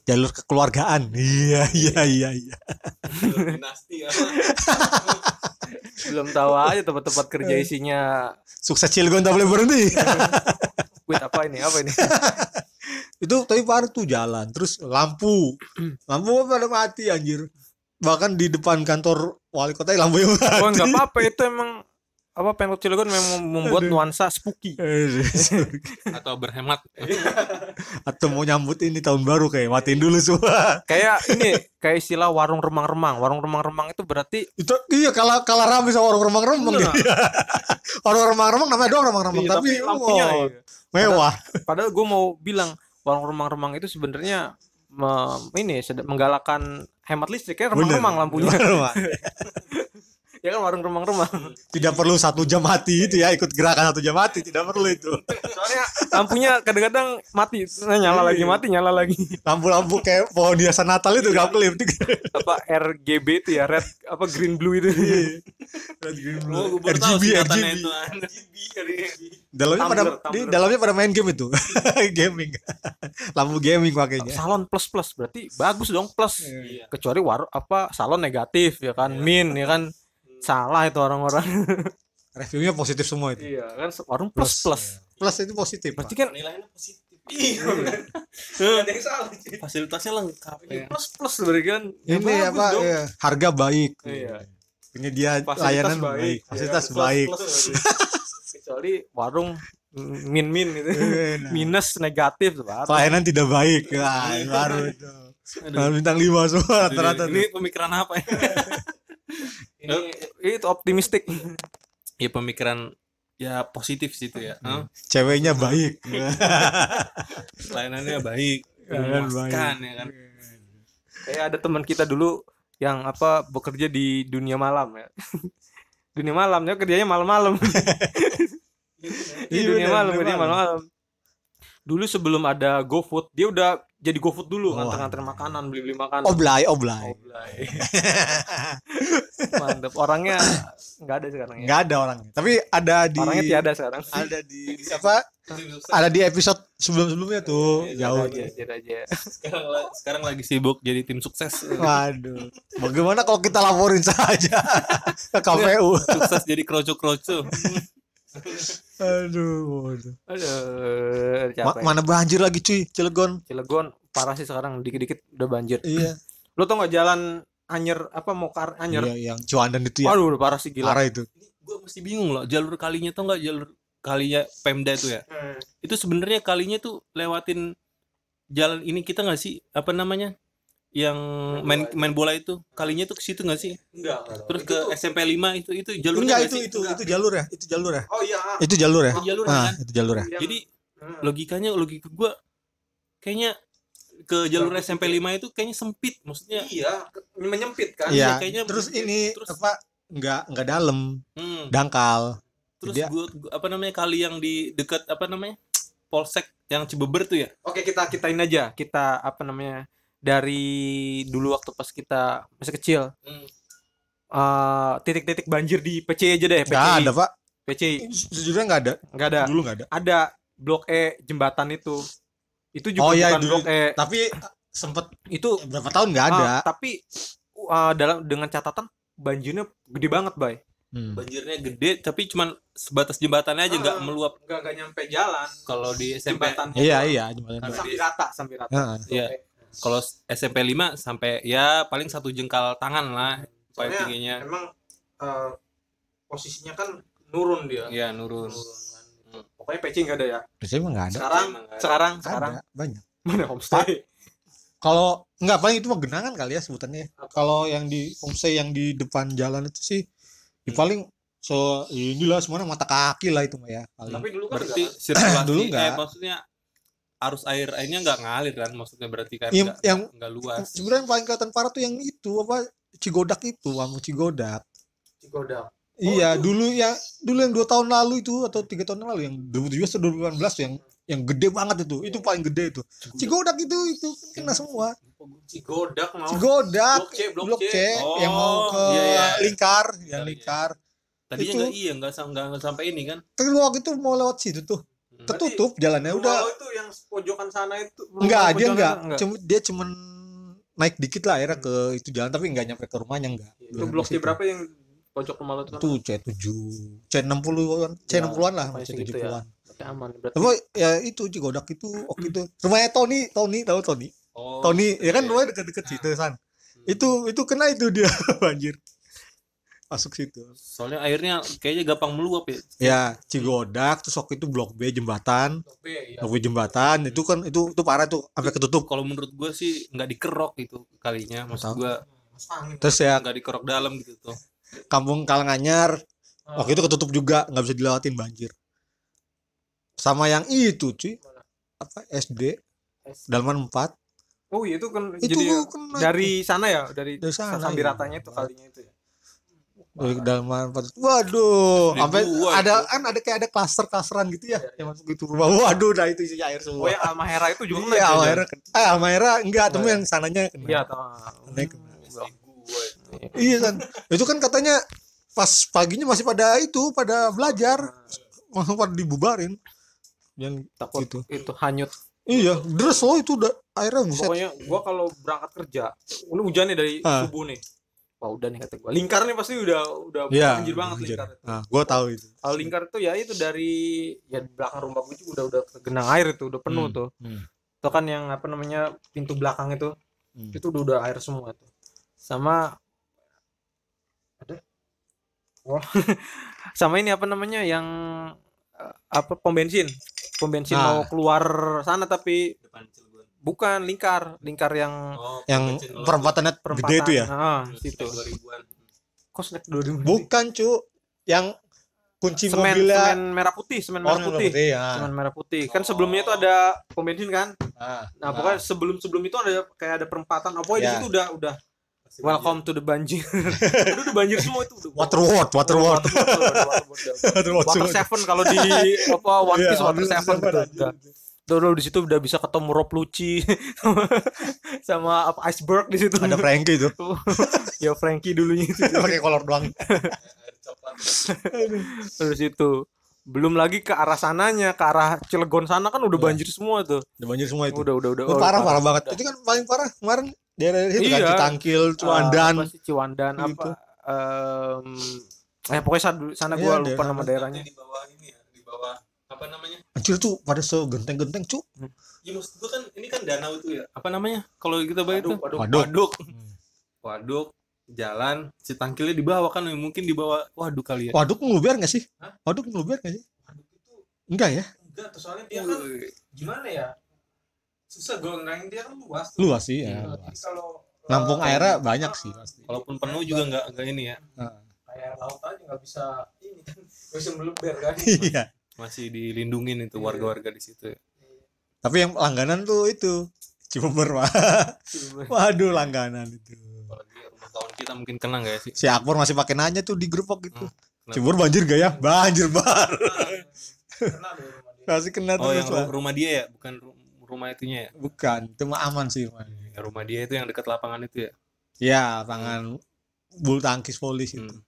Speaker 2: Jalur kekeluargaan. Iya, iya, iya, iya.
Speaker 1: dinasti ya. apa?
Speaker 3: belum tahu aja tempat-tempat kerja
Speaker 2: Eh.
Speaker 3: isinya
Speaker 2: Sukses Cilegon tak boleh berhenti.
Speaker 3: wait apa ini apa ini
Speaker 2: itu tapi baru tuh jalan, terus lampu. Lampu pada mati anjir. Bahkan di depan kantor wali kota ya lampu yang mati.
Speaker 3: oh nggak apa-apa itu emang apa Pemkot Cilegon memang membuat nuansa spooky iya.
Speaker 1: atau berhemat.
Speaker 2: atau mau nyambut ini tahun baru kayak matiin dulu semua
Speaker 3: kayak ini kayak istilah warung remang-remang warung remang-remang itu berarti
Speaker 2: itu iya kalah kalah rame sama orang remang-remang
Speaker 3: Iya.
Speaker 2: gitu. orang remang-remang namanya doang remang-remang
Speaker 3: Iya,
Speaker 2: tapi,
Speaker 3: lampunya
Speaker 2: wow,
Speaker 3: iya.
Speaker 2: mewah
Speaker 3: Padahal gue mau bilang warung remang-remang itu sebenarnya me- ini sed- menggalakkan hemat listrik ya
Speaker 2: Bener.
Speaker 3: remang-remang lampunya.
Speaker 2: Remang-remang.
Speaker 3: ya kan warung remang-remang.
Speaker 2: tidak perlu satu jam mati itu ya ikut gerakan satu jam mati tidak perlu itu
Speaker 3: Soalnya lampunya kadang-kadang mati, Nah, nyala lagi, mati, nyala lagi.
Speaker 2: lampu-lampu kayak pohon hiasan Natal itu gak pelit
Speaker 3: apa RGB itu ya, red apa green blue itu.
Speaker 1: Oh, gua baru tahu
Speaker 2: RGB
Speaker 1: singkatannya
Speaker 2: RGB
Speaker 1: itu. RGB.
Speaker 2: dalamnya pada
Speaker 3: Tumbler,
Speaker 2: di
Speaker 3: tumbler.
Speaker 2: dalamnya pada main game itu gaming lampu gaming pakainya
Speaker 3: Iya. salon plus plus berarti bagus dong plus. Kecuali warung apa salon negatif ya kan, min ya kan. Salah itu orang-orang.
Speaker 2: reviewnya positif semua itu
Speaker 3: Iya kan warung plus iya. plus.
Speaker 2: plus itu positif
Speaker 3: Berarti kan
Speaker 1: Penilaiannya positif. Iya. Ada yang salah. Fasilitasnya lengkap ya.
Speaker 3: Iya, plus plus berarti kan. Ya
Speaker 2: ini
Speaker 3: bagus
Speaker 2: apa
Speaker 3: dong.
Speaker 2: ya, harga baik
Speaker 3: Iya.
Speaker 2: penyedia
Speaker 3: Fasilitas
Speaker 2: layanan
Speaker 3: baik.
Speaker 2: baik, fasilitas
Speaker 3: Iya,
Speaker 2: baik
Speaker 3: Kecuali warung min min gitu minus Iya. negatif tuh Pak.
Speaker 2: Iya, nah. Pelayanan tidak baik. Wah, baru itu. Nah, bintang 5 semua rata-rata. tuh.
Speaker 1: ini pemikiran apa ya?
Speaker 3: ini itu optimistik
Speaker 1: ya pemikiran ya positif sih itu ya.
Speaker 2: Hmm.
Speaker 1: Hah?
Speaker 2: Ceweknya baik.
Speaker 3: Iya,
Speaker 1: Layanannya baik,
Speaker 2: Layanan
Speaker 1: memuaskan ya kan.
Speaker 3: kayak ada teman kita dulu yang apa bekerja di dunia malam ya dunia malam ya kerjanya malam-malam di
Speaker 2: Iya,
Speaker 3: dunia
Speaker 2: bener,
Speaker 3: malam
Speaker 2: dunia
Speaker 3: kerjanya
Speaker 2: malam.
Speaker 3: malam-malam dulu sebelum ada GoFood dia udah jadi GoFood dulu
Speaker 2: Wah. Oh,
Speaker 3: nganter-nganter makanan beli-beli makanan
Speaker 2: Oblay, oblay.
Speaker 3: Oblay. mantep orangnya nggak ada sekarang ya
Speaker 2: Enggak ada orang. Tapi ada di
Speaker 3: orangnya tiada sekarang
Speaker 2: Ada di siapa? Ada di episode sebelum-sebelumnya tuh.
Speaker 3: Iya,
Speaker 2: Jauh.
Speaker 3: aja tiada aja
Speaker 1: Sekarang, la- sekarang lagi sibuk jadi tim sukses.
Speaker 2: Waduh. Bagaimana kalau kita laporin saja ke KPU?
Speaker 1: sukses jadi kroco-kroco.
Speaker 2: Aduh. waduh.
Speaker 3: aduh
Speaker 2: Ma-
Speaker 1: ya?
Speaker 3: capek
Speaker 2: mana banjir lagi cuy, Cilegon.
Speaker 3: Cilegon parah sih sekarang dikit-dikit udah banjir
Speaker 2: Iya.
Speaker 3: lo tau nggak jalan anyer apa mokar anyer
Speaker 2: Iya, yang Ciwandan itu ya.
Speaker 3: Waduh, udah parah sih gila.
Speaker 2: Parah itu.
Speaker 1: Gue mesti bingung loh, jalur kalinya tau nggak jalur kalinya Pemda itu ya?
Speaker 3: Hmm.
Speaker 1: Itu sebenarnya kalinya tuh lewatin jalan ini kita nggak sih? Apa namanya? Yang main main bola itu kalinya tuh ke situ nggak sih?
Speaker 3: Enggak.
Speaker 1: Terus ke SMP 5 itu itu jalurnya
Speaker 2: Enggak
Speaker 1: nggak
Speaker 2: itu
Speaker 1: sih?
Speaker 2: itu itu jalur ya, itu jalur ya.
Speaker 3: Oh iya. Hmm.
Speaker 2: Itu jalur ya.
Speaker 1: Itu jalur
Speaker 2: Ah,
Speaker 1: kan?
Speaker 2: itu jalur ya.
Speaker 1: Jadi logikanya logika gue kayaknya ke jalur
Speaker 3: Bagus
Speaker 1: SMP 5 itu kayaknya sempit maksudnya
Speaker 3: iya, menyempit kan.
Speaker 2: Iya.
Speaker 1: Iya. kayaknya-
Speaker 2: Terus ini
Speaker 1: terus-
Speaker 2: apa enggak enggak dalam,
Speaker 1: hmm,
Speaker 2: dangkal.
Speaker 1: terus
Speaker 2: dia-
Speaker 1: gua, gua- apa namanya kali yang di dekat apa namanya polsek yang Cibeber tuh ya
Speaker 3: Oke, kita kitain aja. Kita apa namanya? Dari dulu waktu pas kita masih kecil,
Speaker 1: Hmm.
Speaker 3: eh, titik-titik banjir di PCI aja deh,
Speaker 2: Enggak
Speaker 3: PCI.
Speaker 2: ada, Pak.
Speaker 3: PCI.
Speaker 2: Sejujurnya enggak ada.
Speaker 3: Enggak
Speaker 1: Ya.
Speaker 3: ada.
Speaker 2: Dulu enggak ada.
Speaker 3: Ada Blok E jembatan itu. Itu juga
Speaker 2: Oh, iya,
Speaker 3: bukan
Speaker 2: dulu.
Speaker 3: Blok E.
Speaker 2: Tapi sempet
Speaker 3: Itu
Speaker 2: berapa tahun enggak ada.
Speaker 3: ah, tapi ah, dalam dengan catatan banjirnya gede banget, Bay.
Speaker 2: Hmm.
Speaker 1: banjirnya gede tapi cuman sebatas jembatannya aja nggak
Speaker 3: Ah.
Speaker 1: meluap
Speaker 3: Enggak enggak nyampe jalan.
Speaker 1: kalau di SMP
Speaker 3: Jembatan.
Speaker 2: Iya, iya, jembatan.
Speaker 3: Sampai
Speaker 1: Sampai
Speaker 3: rata, Iya, sampai rata.
Speaker 2: Heeh.
Speaker 1: ya kalau SMP 5 sampai ya paling satu jengkal tangan lah paling
Speaker 3: Soalnya
Speaker 1: tingginya
Speaker 3: emang eh, posisinya kan nurun dia
Speaker 1: ya nurun
Speaker 3: kan. pokoknya peci nggak ada ya
Speaker 2: Biasanya emang enggak ada.
Speaker 3: sekarang
Speaker 1: Emang nggak ada.
Speaker 3: sekarang sekarang
Speaker 2: Ada, banyak.
Speaker 3: mana homestay
Speaker 2: Kalau enggak paling itu mah genangan kali ya sebutannya. Kalau yang di homestay yang di depan jalan itu sih ya paling so inilah semuanya mata kaki lah itu mah ya. Paling.
Speaker 3: tapi dulu kan
Speaker 1: berarti
Speaker 3: nggak
Speaker 1: sirkulasi
Speaker 2: Dulu
Speaker 1: eh,
Speaker 2: nggak.
Speaker 1: maksudnya arus air airnya nggak ngalir kan maksudnya berarti kan
Speaker 2: Yang-
Speaker 1: nggak
Speaker 2: yang-
Speaker 1: nggak luas
Speaker 2: sebenarnya yang paling kelihatan parah tuh yang itu apa Cigodak itu sama Cigodak.
Speaker 3: cigodak
Speaker 2: iya,
Speaker 3: itu.
Speaker 2: dulu yang dulu yang dua tahun lalu itu atau tiga tahun yang lalu yang 2017 atau 2018 tuh yang yang gede banget itu. Itu paling gede itu. Cigodak itu itu kena semua.
Speaker 3: cigodak mau
Speaker 2: Cigodak
Speaker 3: Oh, blok C blok,
Speaker 2: blok
Speaker 3: C,
Speaker 2: C yang mau ke
Speaker 1: Oh, iya, iya.
Speaker 2: lingkar,
Speaker 1: Lingkar,
Speaker 2: yang
Speaker 1: iya.
Speaker 2: lingkar.
Speaker 1: tadinya
Speaker 2: itu-
Speaker 1: nggak iya nggak sam- nggak nggak sampai ini kan
Speaker 2: Tapi waktu itu mau lewat situ tuh. Tertutup jalannya
Speaker 3: Rumah
Speaker 2: udah.
Speaker 3: lo itu yang pojokan sana itu rumah
Speaker 2: Enggak,
Speaker 3: lo
Speaker 2: dia
Speaker 3: pojokan
Speaker 2: enggak.
Speaker 3: sana,
Speaker 2: Cuma dia cuman naik dikit lah akhirnya ke itu jalan tapi enggak nyampe ke rumahnya enggak.
Speaker 3: Hmm. itu blok C berapa yang pojok rumah lo itu kan?
Speaker 2: Itu C7, C60-an, C60-an lah,
Speaker 3: pokoknya segitu ya.
Speaker 2: C70-an.
Speaker 3: Berarti aman berarti
Speaker 2: Tapi ya itu Cigodak itu waktu itu rumahnya Tony, Tony tahu Tony.
Speaker 1: oh,
Speaker 2: Tony ya kan
Speaker 1: iya.
Speaker 2: rumahnya deket-deket situ
Speaker 3: Ah.
Speaker 2: san.
Speaker 3: Hmm.
Speaker 2: Itu itu kena itu dia banjir. Masuk situ.
Speaker 1: soalnya airnya kayaknya gampang meluap ya
Speaker 2: Ya, Cigodak terus waktu itu blok B jembatan,
Speaker 3: blok B ya
Speaker 2: blok B jembatan itu kan itu itu parah tuh sampai ketutup.
Speaker 1: kalau menurut gue sih nggak dikerok gitu kalinya maksud
Speaker 2: Tahu.
Speaker 1: gue
Speaker 3: Mas angin
Speaker 2: Terus ya
Speaker 1: nggak dikerok dalam gitu tuh
Speaker 2: kampung Kalanganyar
Speaker 3: Ah,
Speaker 2: waktu itu ketutup juga nggak bisa dilewatin banjir sama yang itu cuy
Speaker 3: Mana?
Speaker 2: apa SD
Speaker 3: S.
Speaker 2: Dalman 4
Speaker 3: oh iya itu kan
Speaker 2: itu
Speaker 3: jadi
Speaker 2: kena
Speaker 3: dari sana ya dari,
Speaker 2: Dari sana,
Speaker 3: sambil
Speaker 2: iya.
Speaker 3: ratanya itu kalinya itu ya
Speaker 2: dari Oh, Dalman 4 waduh
Speaker 1: Dari
Speaker 2: sampai
Speaker 1: gua
Speaker 2: ada
Speaker 1: itu.
Speaker 2: kan ada kayak ada klaster klasteran gitu ya
Speaker 3: Iya,
Speaker 2: yang masuk itu rumah waduh nah itu isinya
Speaker 3: oh
Speaker 2: air semua
Speaker 3: yang Almahera itu juga kena
Speaker 2: iya
Speaker 3: itu,
Speaker 2: Almahera kena. eh Almahera enggak
Speaker 3: Almahera.
Speaker 2: temu yang sananya
Speaker 3: ya? Oh,
Speaker 2: kena.
Speaker 3: Iya, tahu.
Speaker 2: Naik.
Speaker 3: Blok.
Speaker 2: iya kan itu kan katanya pas paginya masih pada itu
Speaker 3: Nah,
Speaker 2: pada belajar langsung pada dibubarin yang
Speaker 3: Takut
Speaker 2: Gitu.
Speaker 3: itu hanyut.
Speaker 2: iya deres loh itu udah airnya buset
Speaker 3: Pokoknya gua kalau berangkat kerja, ini hujan nih dari
Speaker 2: Ah.
Speaker 3: subuh nih. Wah, udah nih kata gua. Lingkar nih pasti udah udah
Speaker 2: Iya.
Speaker 3: banjir banget
Speaker 2: banjir.
Speaker 3: lingkar.
Speaker 2: Nah, gua tahu itu.
Speaker 3: Kalau lingkar itu ya itu dari ya di belakang rumah gua juga udah udah genang air itu, udah penuh
Speaker 2: Hmm.
Speaker 3: tuh.
Speaker 2: Hmm.
Speaker 3: Itu kan yang apa namanya pintu belakang itu,
Speaker 2: Hmm.
Speaker 3: itu udah, udah air semua tuh. Sama ada Oh. sama ini apa namanya yang eh, apa pom bensin pom bensin mau
Speaker 2: Nah.
Speaker 3: keluar sana tapi
Speaker 1: depan Cilegon.
Speaker 3: bukan lingkar lingkar yang
Speaker 1: Oh,
Speaker 2: yang
Speaker 1: Cilegon.
Speaker 2: perempatannya
Speaker 3: perempatan
Speaker 2: gede itu ya
Speaker 3: Ah,
Speaker 1: Itu
Speaker 3: situ
Speaker 1: 2000-an.
Speaker 3: kok snack dua ribu
Speaker 2: bukan cu yang kunci
Speaker 3: semen
Speaker 2: mobilnya
Speaker 3: semen merah putih semen
Speaker 2: Oh,
Speaker 3: merah putih
Speaker 2: ya
Speaker 3: semen merah putih kan sebelumnya itu ada pom bensin kan
Speaker 2: Nah,
Speaker 3: nah pokoknya sebelum sebelum itu ada kayak ada perempatan oh pokoknya di
Speaker 2: Ya.
Speaker 3: situ udah udah
Speaker 1: Pasti
Speaker 3: welcome to the banjir udah udah banjir semua itu udah.
Speaker 2: Waterworld,
Speaker 3: Water- water-
Speaker 2: Waterworld,
Speaker 3: water- water- water-
Speaker 2: Waterworld.
Speaker 3: Water Seven kalau di apa One
Speaker 2: Iya,
Speaker 3: Piece Water
Speaker 2: Water
Speaker 3: Seven
Speaker 2: Seven
Speaker 3: gitu.
Speaker 2: aja.
Speaker 3: Udah. Udah, udah, di situ udah bisa ketemu Rob Lucci sama, sama apa iceberg di situ.
Speaker 2: Ada Frankie itu
Speaker 3: ya Frankie dulunya itu.
Speaker 2: pakai kolor doang.
Speaker 1: air coklat.
Speaker 3: Terus itu belum lagi ke arah sananya, ke arah Cilegon sana kan udah
Speaker 2: Iya.
Speaker 3: banjir semua tuh.
Speaker 2: Udah banjir semua itu.
Speaker 3: Udah udah udah.
Speaker 2: Itu
Speaker 3: udah
Speaker 2: parah parah banget. Itu kan paling parah kemarin daerah itu kan
Speaker 3: Iya.
Speaker 2: Citangkil, Cuandan.
Speaker 3: Ah, apa sih, Ciwandan
Speaker 2: Gitu.
Speaker 3: apa em, eh pokoknya sana, sana
Speaker 2: Iya,
Speaker 3: gua lupa
Speaker 2: daerah
Speaker 3: nama daerahnya.
Speaker 1: Di bawah ini ya, di bawah apa namanya?
Speaker 2: Anjir tuh pada segenteng-genteng, cu.
Speaker 1: Ya maksud gua kan ini kan danau itu ya. Apa namanya? Kalau kita bayar itu
Speaker 3: Waduh, waduh.
Speaker 2: Waduh.
Speaker 1: waduk. Waduk jalan si tangkilnya di bawah kan mungkin di bawah waduk kali ya.
Speaker 2: Waduk ngeluber gak sih?
Speaker 1: Hah?
Speaker 2: Waduk ngeluber gak sih?
Speaker 1: Waduk itu
Speaker 2: Enggak ya?
Speaker 1: enggak tuh soalnya dia kan gimana ya? Susah gua ngerangin dia kan luas. tuh.
Speaker 2: Luas sih ya.
Speaker 1: Iya. Jadi
Speaker 2: luas.
Speaker 1: Kalau
Speaker 2: Nampung
Speaker 1: eh,
Speaker 2: airnya banyak sih pasti.
Speaker 1: Walaupun penuh juga enggak enggak ini ya.
Speaker 2: Nah.
Speaker 1: Kayak laut aja enggak bisa ini kan. Enggak bisa meluber kan.
Speaker 2: Iya.
Speaker 1: Masih dilindungin itu warga-warga di situ. ya.
Speaker 2: Tapi yang langganan tuh itu Cimber wah. Waduh langganan itu.
Speaker 1: Apalagi rumah tahun kita mungkin kena enggak ya sih?
Speaker 2: Si Akbar masih pakai nanya tuh di grup waktu itu.
Speaker 1: kenapa?
Speaker 2: Cimber banjir gak ya? Banjir bar.
Speaker 1: Kena deh rumah dia.
Speaker 2: Masih kena
Speaker 1: Oh, yang
Speaker 2: terus lah.
Speaker 1: ru- rumah dia ya, bukan ru- rumah itunya ya.
Speaker 2: Bukan, itu mah aman sih. Man.
Speaker 1: Ya, Rumah dia itu yang dekat lapangan itu ya.
Speaker 2: Ya, tangan bulu tangkis polis itu.
Speaker 1: Hmm.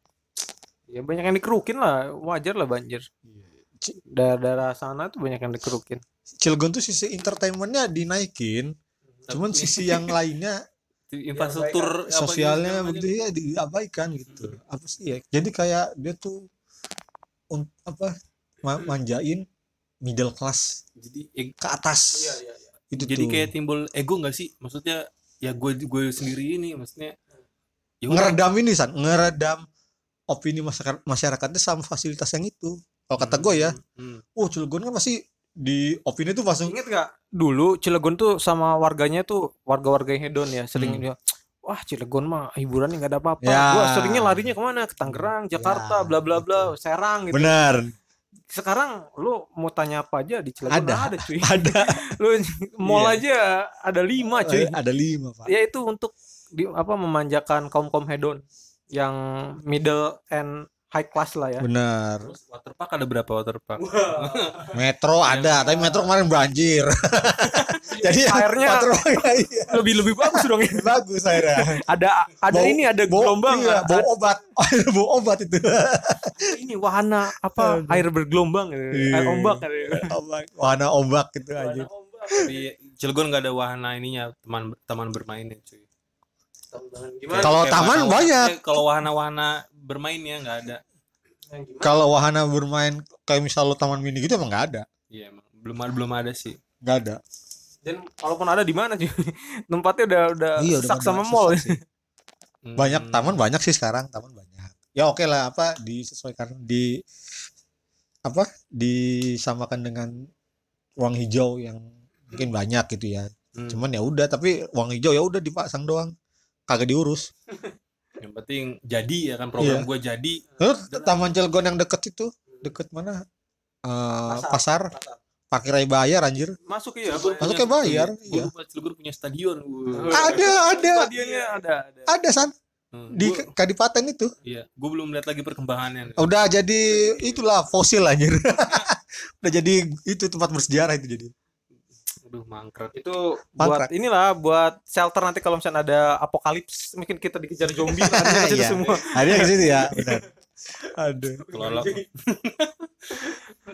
Speaker 3: Ya banyak yang dikerukin lah, wajar lah banjir.
Speaker 2: Iya, Ci-
Speaker 3: Daerah-daerah sana tuh banyak yang dikerukin.
Speaker 2: Cilegon tuh sisi entertainmentnya dinaikin, cuman
Speaker 1: Tapi
Speaker 2: sisi yang lainnya
Speaker 1: infrastruktur apa
Speaker 2: sosialnya
Speaker 1: gitu,
Speaker 2: begitu ya diabaikan gitu. Apa sih ya? Jadi kayak dia tuh un- apa ma- manjain middle class
Speaker 1: jadi ya-
Speaker 2: ke atas.
Speaker 1: iya, iya, iya.
Speaker 2: Itu
Speaker 1: jadi
Speaker 2: tuh.
Speaker 1: kayak timbul ego nggak sih maksudnya ya gue gue sendiri ini maksudnya ya udah.
Speaker 2: ngeredam ini san, ngeredam opini masyarakat masyarakatnya sama fasilitas yang itu. Kalau kata gue ya,
Speaker 1: Hmm, hmm.
Speaker 2: oh Cilegon kan pasti di opini tuh
Speaker 1: Iya,
Speaker 2: langsung
Speaker 3: Ingat gak? Dulu Cilegon tuh sama warganya tuh warga-warga yang hedon ya, sering
Speaker 2: Hmm.
Speaker 3: dia, wah Cilegon mah hiburannya nggak ada apa-apa.
Speaker 2: Ya.
Speaker 3: Gua seringnya larinya kemana? Ke Tangerang, Jakarta,
Speaker 2: Ya,
Speaker 3: bla bla bla, Serang gitu.
Speaker 2: benar
Speaker 3: Sekarang lu mau tanya apa aja di Cilegon
Speaker 2: Ada.
Speaker 3: ada, cuy.
Speaker 2: ada
Speaker 3: Lu mall
Speaker 2: Iya. Oh,
Speaker 3: aja ada lima cuy.
Speaker 2: ada lima
Speaker 1: Iya.
Speaker 2: pak.
Speaker 3: Ya itu untuk di, apa memanjakan kaum kaum hedon yang middle and high class lah ya.
Speaker 2: Benar.
Speaker 1: terus waterpark ada berapa waterpark
Speaker 2: Metro ada, tapi metro kemarin banjir.
Speaker 1: iya.
Speaker 2: Jadi
Speaker 3: Airnya-
Speaker 2: metro iya,
Speaker 3: Lebih lebih bagus dong ya.
Speaker 2: bagus akhirnya.
Speaker 3: Ada ada
Speaker 2: Bau-
Speaker 3: ini ada
Speaker 2: Bau-
Speaker 3: gelombang. ada-
Speaker 2: iya, bau obat, bau obat itu.
Speaker 3: ini wahana apa air bergelombang gitu. air
Speaker 2: Iya.
Speaker 3: ombak gitu.
Speaker 2: obat, wahana ombak gitu aja.
Speaker 1: tapi Cilegon nggak ada wahana ininya teman taman bermainnya cuy
Speaker 3: Gimana?
Speaker 2: Kalau
Speaker 1: Kayak
Speaker 2: taman
Speaker 1: wahana-
Speaker 2: banyak.
Speaker 1: eh, kalau wahana-wahana bermainnya nggak ada
Speaker 2: Kalau wahana bermain kayak misal lo taman mini gitu emang nggak ada,
Speaker 1: iya emang belum ada belum ada sih
Speaker 2: nggak ada.
Speaker 3: Dan walaupun ada di mana sih tempatnya udah udah
Speaker 2: Iya, udah
Speaker 3: sesak
Speaker 2: pada
Speaker 3: sama
Speaker 2: sesak
Speaker 3: mall.
Speaker 2: sih.
Speaker 1: Hmm.
Speaker 2: Banyak taman banyak sih sekarang, taman banyak. Ya oke lah apa disesuaikan di apa disamakan dengan ruang hijau yang mungkin banyak gitu ya.
Speaker 1: Hmm.
Speaker 2: Cuman ya udah tapi uang hijau ya udah dipasang doang. Kagak diurus.
Speaker 1: yang penting jadi ya kan
Speaker 2: Iya.
Speaker 1: program gue jadi
Speaker 2: Terus Taman Cilegon yang deket itu, deket mana? Eh, pasar. Parkir aja bayar anjir.
Speaker 3: Masuk iya.
Speaker 1: Cilegon
Speaker 2: Masuk
Speaker 1: punya-
Speaker 2: kayak bayar,
Speaker 1: Gua
Speaker 2: iya.
Speaker 1: lupa Cilegon punya stadion Gua-
Speaker 2: Ada, ada.
Speaker 3: Stadionnya ada ada.
Speaker 2: Ada San
Speaker 1: Hmm.
Speaker 2: di
Speaker 1: Gua-
Speaker 2: Kadipaten itu.
Speaker 1: Iya, gue belum lihat lagi perkembangannya.
Speaker 2: Udah jadi itulah fosil anjir. udah jadi itu tempat bersejarah itu jadi.
Speaker 1: Aduh, mangkrak.
Speaker 3: Itu buat
Speaker 2: Mangkrak.
Speaker 3: inilah buat shelter nanti kalau misalnya ada apokalips mungkin kita dikejar zombie kan itu
Speaker 2: Iya.
Speaker 3: semua.
Speaker 2: Ada di situ ya, benar. Aduh.
Speaker 1: Kalau lo-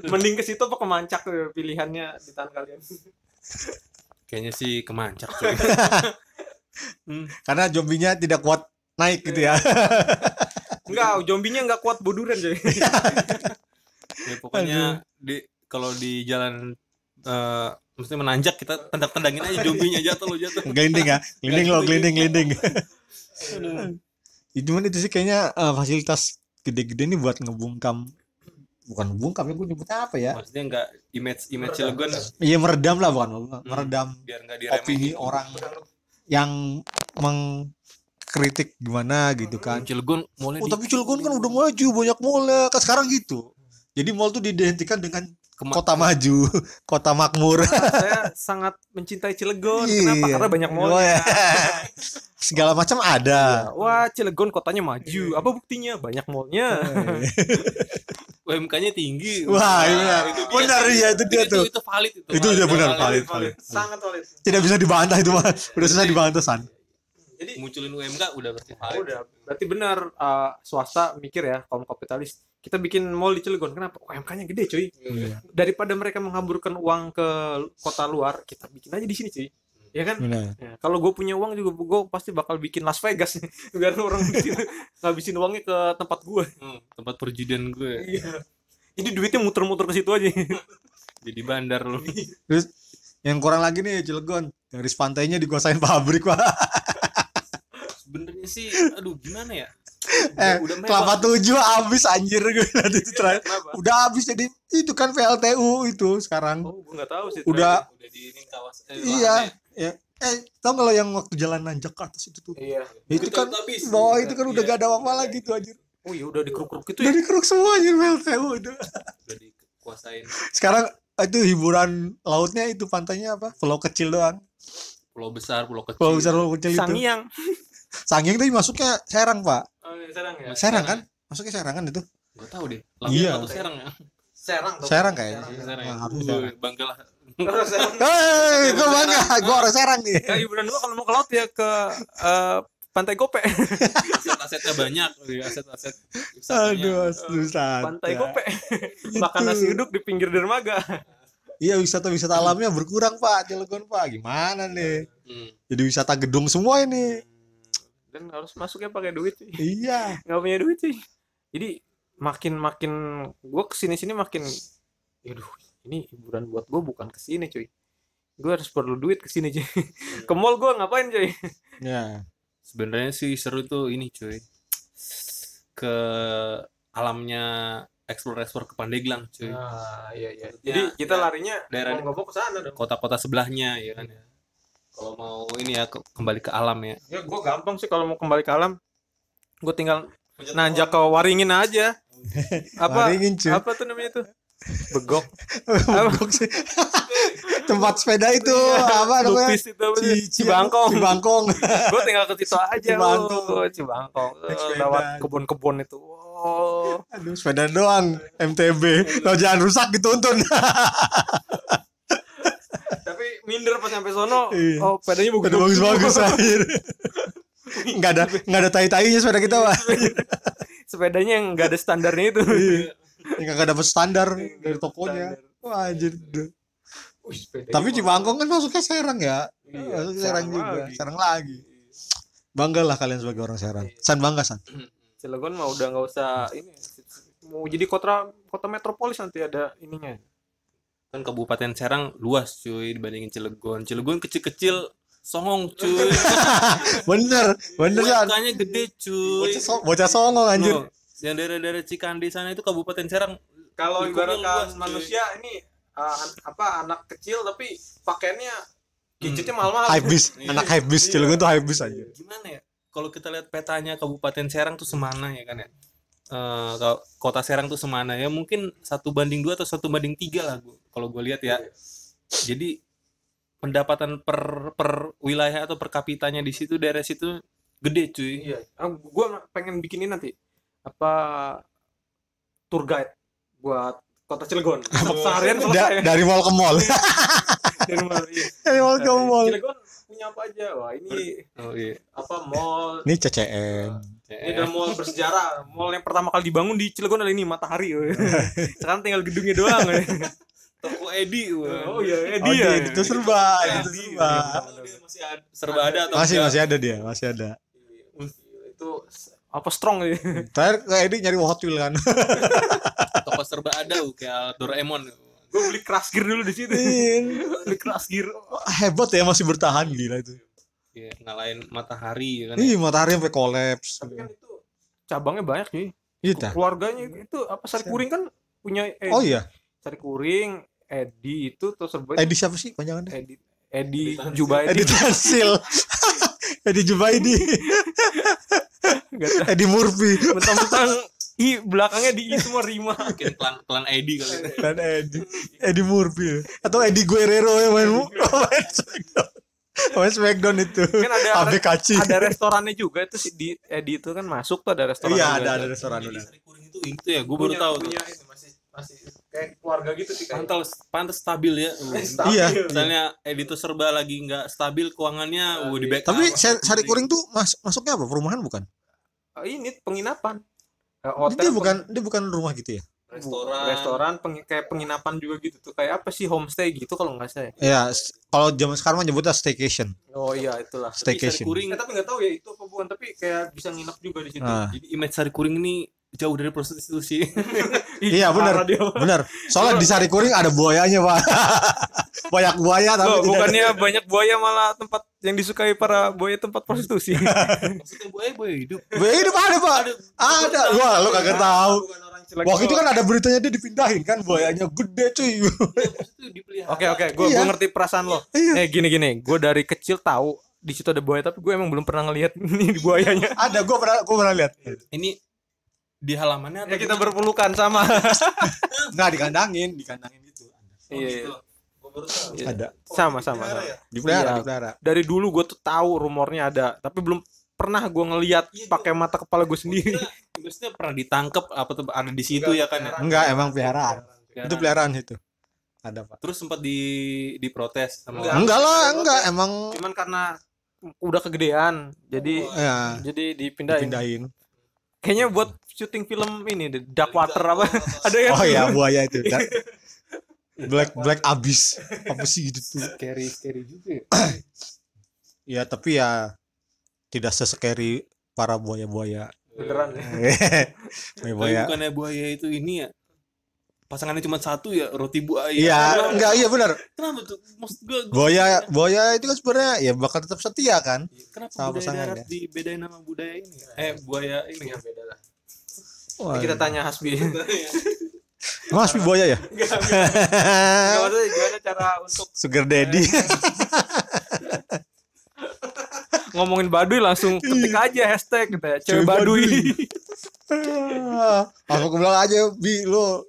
Speaker 3: Mending ke situ apa ke Mancak eh, pilihannya di tangan kalian.
Speaker 1: kayaknya sih kemancak. cuy. hmm.
Speaker 2: Karena zombinya tidak kuat naik gitu ya.
Speaker 3: Enggak, zombinya enggak kuat boduran jadi.
Speaker 1: Ya, pokoknya di kalau di jalan eh mesti menanjak kita tendang-tendangin aja zombinya jatuh lo jatuh.
Speaker 2: Gelinding ya. Gelinding lo, gelinding, gelinding. Ya, cuman itu sih kayaknya eh, fasilitas gede-gede nih buat ngebungkam bukan bungkam ya gue nyebutnya apa ya
Speaker 1: maksudnya nggak image image Cilegon
Speaker 2: iya meredam lah bukan bungkam.
Speaker 1: Hmm.
Speaker 2: meredam
Speaker 1: biar nggak diremehin
Speaker 2: opini orang yang mengkritik gimana gitu kan
Speaker 3: Cilegon mulai
Speaker 2: Oh, tapi Cilegon kan udah maju, banyak mall kan sekarang gitu. Jadi mall tuh didentikan dengan
Speaker 3: Kema-
Speaker 2: kota maju, kota makmur.
Speaker 3: saya sangat mencintai Cilegon.
Speaker 2: Iya.
Speaker 3: Kenapa? Karena banyak ya. mallnya.
Speaker 2: Segala macam ada.
Speaker 3: Wah, Cilegon kotanya maju. Apa buktinya? Banyak mallnya.
Speaker 1: UMK-nya tinggi
Speaker 2: Wah, benar.
Speaker 1: itu dia.
Speaker 2: Benar iya itu dia
Speaker 1: itu,
Speaker 2: tuh.
Speaker 1: itu valid itu
Speaker 2: Itu dia benar valid, valid.
Speaker 3: Sangat valid.
Speaker 2: Tidak bisa dibantah itu mah. Udah
Speaker 3: Iya.
Speaker 2: susah dibantah san.
Speaker 1: jadi munculin UMK udah pasti valid
Speaker 3: Udah, berarti benar eh, swasta mikir ya kaum kapitalis. Kita bikin mall di Cilegon. Kenapa? UMK-nya gede, cuy.
Speaker 1: Iya.
Speaker 3: Daripada mereka menghamburkan uang ke kota luar, kita bikin aja di sini, cuy. Ya kan?
Speaker 2: Benar.
Speaker 3: Ya, kalau gue punya uang juga gue pasti bakal bikin Las Vegas nih. biar orang di sini ngabisin uangnya ke tempat gue.
Speaker 1: Hmm, tempat perjudian gue
Speaker 3: Iya. Jadi duitnya muter-muter ke situ aja.
Speaker 1: jadi bandar lu
Speaker 2: Terus yang kurang lagi nih Cilegon, garis pantainya dikuasain pabrik, Pak.
Speaker 1: sebenarnya sih aduh gimana ya
Speaker 2: Eh,
Speaker 1: udah mewah.
Speaker 2: Kelapa Tujuh habis anjir gue nanti itu terakhir.
Speaker 3: Kenapa?
Speaker 2: Udah habis jadi itu kan VLTU itu sekarang.
Speaker 3: Oh, gue nggak tahu sih.
Speaker 2: Udah
Speaker 1: udah di ini kawas eh,
Speaker 2: Iya, ya. Eh, tau gak lo yang waktu jalan nanjak ke atas itu tuh?
Speaker 3: Iya.
Speaker 1: lahannya.
Speaker 2: itu kan
Speaker 1: habis.
Speaker 2: bawah itu kan udah
Speaker 1: Iya,
Speaker 2: gak ada apa lagi tuh anjir.
Speaker 3: Oh iya udah dikeruk-keruk gitu
Speaker 2: Udah
Speaker 3: ya.
Speaker 2: dikeruk semua anjir VLTU udah.
Speaker 1: udah dikuasain
Speaker 2: Sekarang eh, itu hiburan lautnya itu pantainya apa? Pulau kecil doang.
Speaker 1: pulau besar pulau kecil
Speaker 2: Pulau besar pulau kecil itu.
Speaker 3: Sangiang.
Speaker 2: Sangyang itu masuknya Serang, Pak.
Speaker 3: Oh, Serang ya.
Speaker 2: Serang kan? Masuknya Serang kan itu?
Speaker 1: gak tau deh
Speaker 2: Iya.
Speaker 1: Lampung atau Serang ya
Speaker 3: Serang.
Speaker 2: Serang kayaknya.
Speaker 1: Serang ya
Speaker 2: Nah, harusnya
Speaker 1: Wuh,
Speaker 2: Serang.
Speaker 1: banggalah
Speaker 3: Terus Iya, Serang.
Speaker 2: Hei, gue bangga, gue orang Serang nih.
Speaker 3: Ya hiburan gua kalau mau ke laut ya ke eh, Pantai Gope.
Speaker 1: aset-asetnya banyak iya, aset-aset wisatanya.
Speaker 2: Aduh, susah.
Speaker 3: Pantai Gope. Makan nasi uduk di pinggir dermaga.
Speaker 2: Iya, wisata-wisata alamnya berkurang, Pak. Cilegon, Pak. Gimana nih?
Speaker 1: Hmm.
Speaker 2: Jadi wisata gedung semua ini.
Speaker 3: Dan harus masuknya pakai duit sih.
Speaker 2: Iya.
Speaker 3: Nggak punya duit sih. Jadi makin makin gua kesini sini makin aduh ini hiburan buat gua bukan kesini cuy. Gue harus perlu duit kesini cuy. Ke mall gua ngapain cuy?
Speaker 2: Ya.
Speaker 1: sebenarnya sih seru tuh ini cuy ke alamnya explore explore ke Pandeglang cuy
Speaker 3: Ah, iya iya.
Speaker 1: Maksudnya,
Speaker 3: Jadi kita
Speaker 1: ya,
Speaker 3: larinya
Speaker 1: daerah-
Speaker 3: mau nggak mau ke sana dong.
Speaker 1: kota-kota sebelahnya ya kan ya kalau mau ini ya ke- kembali ke alam ya
Speaker 3: Ya gue gampang sih kalau mau kembali ke alam. Ya, Gue tinggal
Speaker 1: Nah,
Speaker 3: nanjak ke Waringin aja. Apa
Speaker 2: Waringin, cuy.
Speaker 3: apa tuh namanya tuh? Begok.
Speaker 2: Bogok sih. Tempat sepeda itu
Speaker 3: Iya.
Speaker 2: apa namanya?
Speaker 3: Lupis itu apa sih?
Speaker 2: Ci- ci-
Speaker 3: Cibangkong.
Speaker 2: Cibangkong.
Speaker 3: Gue tinggal ke situ aja.
Speaker 2: Cibangkong.
Speaker 3: lu. Cibangkong. Eh,
Speaker 2: Naik sepeda.
Speaker 3: Lewat kebun-kebun itu. Oh. Wow.
Speaker 2: Aduh, sepeda doang MTB. Lo jangan rusak dituntun.
Speaker 3: Tapi minder pas sampai sono.
Speaker 2: Iya.
Speaker 3: Oh, pedanya bagus.
Speaker 2: Udah bagus-bagus anjir. Enggak ada enggak ada tai-tainya sepeda kita, Pak.
Speaker 3: Sepedanya yang nggak ada standarnya itu.
Speaker 2: Enggak dapat standar Iya,
Speaker 3: Iya,
Speaker 2: dari tokonya. Wah, anjir.
Speaker 3: Wih, sepedanya
Speaker 2: Tapi
Speaker 3: mahal.
Speaker 2: Cibangkong kan masuknya Serang ya.
Speaker 3: Iya,
Speaker 2: Masuknya Serang
Speaker 3: Serang
Speaker 2: juga,
Speaker 3: lagi. Iya.
Speaker 2: Serang lagi. Bangga lah kalian sebagai orang Serang. San bangga, San.
Speaker 3: Iya. Cilegon mah udah nggak usah ini ya, mau jadi kota kota metropolis nanti ada ininya.
Speaker 1: kan kabupaten Serang luas cuy dibandingin Cilegon Cilegon kecil-kecil songong cuy
Speaker 2: Bener, bener San.
Speaker 1: UMK-nya gede cuy
Speaker 2: Bocah, so- bocah songong anjir.
Speaker 1: Loh, yang daerah-daerah Cikandi sana itu kabupaten Serang
Speaker 3: Kalau
Speaker 1: Lingkungan luas,
Speaker 3: ibaratkan
Speaker 1: cuy.
Speaker 3: manusia ini uh, an- apa anak kecil tapi pakaiannya gadgetnya mahal-mahal.
Speaker 2: Hype beast,
Speaker 1: Iya.
Speaker 2: anak hype beast. Cilegon tuh hype beast anjir.
Speaker 1: gimana ya kalau kita lihat petanya kabupaten Serang tuh semana ya kan ya Eh, kalau kota Serang tuh semana ya mungkin satu banding dua atau satu banding tiga lah gua- kalau gue lihat ya jadi pendapatan per per wilayah atau per kapitanya di situ daerah situ gede cuy
Speaker 3: Iya. Ah, gua pengen bikin ini nanti apa tour guide buat kota Cilegon. Seharian
Speaker 2: Da-
Speaker 3: selesai.
Speaker 2: dari mall ke mall.
Speaker 3: Dari mulai- iya.
Speaker 2: dari mall ke mall.
Speaker 3: Cilegon punya apa aja? Wah, ini
Speaker 1: oh iya
Speaker 3: apa mall
Speaker 2: Ini CCM.
Speaker 1: Eh.
Speaker 3: Ini udah mall bersejarah. Mall yang pertama kali dibangun di Cilegon adalah ini Matahari. weh.
Speaker 2: Nah.
Speaker 3: Sekarang tinggal gedungnya doang. weh.
Speaker 1: toko Edi
Speaker 3: oh iya,
Speaker 2: Oh,
Speaker 3: Edi ya.
Speaker 2: dia itu serba, itu
Speaker 1: Edi.
Speaker 2: serba.
Speaker 1: masih ada, serba ada atau
Speaker 2: Masih
Speaker 1: enggak?
Speaker 2: masih ada dia, masih ada.
Speaker 3: Itu apa strong ya.
Speaker 2: Terakhir ke Edi nyari Hot Wheels kan.
Speaker 1: toko serba ada uh, kayak Doraemon
Speaker 3: Gue beli keras gear dulu di situ.
Speaker 2: Iya.
Speaker 3: beli keras gear.
Speaker 2: Hebat ya masih bertahan gila itu.
Speaker 1: Iya, ngalahin matahari ya kan ya.
Speaker 2: Ih, matahari sampai kolaps.
Speaker 3: Tapi kan itu cabangnya banyak sih.
Speaker 2: Iya, dah.
Speaker 3: Keluarganya itu apa sari kuring kan punya Edi.
Speaker 2: Oh iya,
Speaker 3: Cari Kuring, Edi itu terus serba
Speaker 2: Edi siapa sih panjangannya?
Speaker 3: Edi Edi
Speaker 1: Edi
Speaker 3: Jubaidi
Speaker 2: Edi Tansil. Edi Jubaidi,
Speaker 3: Nggak tahu.
Speaker 2: Edi Murphy,
Speaker 3: mentang-mentang i belakangnya di i semua rima Kan
Speaker 1: mungkin klan klan ID kali
Speaker 3: Iya,
Speaker 1: ya.
Speaker 2: dan Edi Edi Murphy atau Edi Guerrero ya, yang main main Smackdown. Main Smackdown itu.
Speaker 3: kan ada
Speaker 2: Abe Kaci.
Speaker 3: ada restorannya juga itu si di Edi itu kan masuk tuh ada restoran
Speaker 2: Iya,
Speaker 3: juga.
Speaker 2: ada ada restoran
Speaker 1: Jadi
Speaker 2: udah.
Speaker 1: Sari Kuring itu itu ya gue baru
Speaker 3: Punya-
Speaker 1: tahu tuh
Speaker 3: punya ini, masih masih kayak keluarga gitu sih kayak
Speaker 1: pantas pantas stabil ya
Speaker 3: Stabil.
Speaker 2: Iya.
Speaker 1: misalnya editor serba lagi nggak stabil keuangannya uh, di backup
Speaker 2: Tapi Sa- Sari Kuring tuh mas- masuknya apa? Perumahan bukan?
Speaker 3: Oh, ini penginapan Eh,
Speaker 2: Dia bukan dia bukan rumah gitu ya.
Speaker 1: restoran
Speaker 3: restoran peng- kayak penginapan juga gitu tuh kayak apa sih homestay gitu kalau nggak salah
Speaker 2: Ya, s- kalau zaman sekarang mah nyebutnya staycation.
Speaker 3: oh iya itulah
Speaker 1: Tapi Sari
Speaker 2: Staycation.
Speaker 1: Kuring
Speaker 3: Eh, tapi nggak tahu ya itu apa bukan tapi kayak bisa nginep juga di situ
Speaker 2: Ah.
Speaker 1: jadi image Sari Kuring ini jauh dari prostitusi
Speaker 3: Ih,
Speaker 2: Iya, benar.
Speaker 3: parah dia.
Speaker 2: Benar. Soalnya di Sari Kuring ada buayanya, Pak. Banyak buaya tapi
Speaker 3: Loh,
Speaker 2: tidak
Speaker 3: bukannya banyak buaya malah tempat yang disukai para buaya tempat prostitusi
Speaker 1: maksudnya gue eh gue hidup
Speaker 2: Buaya hidup ada, Pak. Ada. Wah, lu kagak tahu.
Speaker 1: bukan orang celaka
Speaker 3: Lagi-
Speaker 2: Waktu itu kan ada beritanya dia dipindahin kan buayanya gede cuy.
Speaker 1: itu dipelihara
Speaker 3: Oke oke, gue
Speaker 2: Iya.
Speaker 3: ngerti perasaan lo. Eh
Speaker 2: Iya.
Speaker 3: gini gini, gue dari kecil tahu di situ ada buaya tapi gue emang belum pernah ngelihat ini buayanya.
Speaker 2: ada gua pernah gua pernah lihat.
Speaker 1: ini di halamannya
Speaker 3: Ya
Speaker 1: atau
Speaker 3: kita
Speaker 1: di-
Speaker 3: berpelukan sama.
Speaker 2: Enggak dikandangin, dikandangin gitu.
Speaker 1: Oh, gitu. Gua baru tahu.
Speaker 3: Iya.
Speaker 2: Ada.
Speaker 3: Sama sama. sama.
Speaker 1: Dipelihara ya?
Speaker 2: Dipelihara,
Speaker 3: Iya.
Speaker 2: dipelihara.
Speaker 3: Dari dulu gue tuh tahu rumornya ada, tapi belum pernah gue ngelihat
Speaker 1: Iya,
Speaker 3: pakai mata kepala gue sendiri.
Speaker 1: Kira- maksudnya pernah ditangkep apa tuh ada di situ ya kan ya
Speaker 2: Enggak, emang peliharaan.
Speaker 1: Peliharaan.
Speaker 2: Itu peliharaan itu. Ada, Pak.
Speaker 1: terus sempat di diprotes sama
Speaker 3: Enggak.
Speaker 2: Enggak lah, enggak emang
Speaker 3: Cuman karena udah kegedean, jadi Hmm,
Speaker 2: ya
Speaker 3: jadi dipindahin.
Speaker 2: dipindahin.
Speaker 3: Kayaknya buat syuting film ini The Dark Water apa? ada yang
Speaker 2: Oh ya buaya itu. Da- Black black abis apa sih gitu tuh.
Speaker 1: scary scary juga ya.
Speaker 2: Ya tapi ya tidak sescary para buaya-buaya.
Speaker 3: beneran. ya?
Speaker 1: Tapi
Speaker 2: buaya-buaya.
Speaker 1: bukannya buaya itu ini ya pasangannya cuma satu ya roti buaya
Speaker 2: Iya,
Speaker 1: Kenapa-
Speaker 2: enggak iya benar.
Speaker 1: kenapa tuh maksud gue,
Speaker 2: Buaya buaya itu kan sebenarnya ya bakal tetap setia kan.
Speaker 1: kenapa
Speaker 2: Sama
Speaker 1: budaya
Speaker 2: pasangan
Speaker 1: darat
Speaker 2: ya.
Speaker 1: dibedain sama budaya ini ya? eh buaya ini ya beda lah
Speaker 2: Wah,
Speaker 3: Kita tanya Hasbi.
Speaker 2: Mas Pi buaya ya?
Speaker 3: Nggak maksudnya gimana cara untuk
Speaker 2: Sugar daddy.
Speaker 3: ngomongin Baduy langsung ketik aja hashtag gitu ya. Cewek
Speaker 2: Iya. Cewek
Speaker 3: Baduy.
Speaker 2: Aku ke belakang aja Bi lu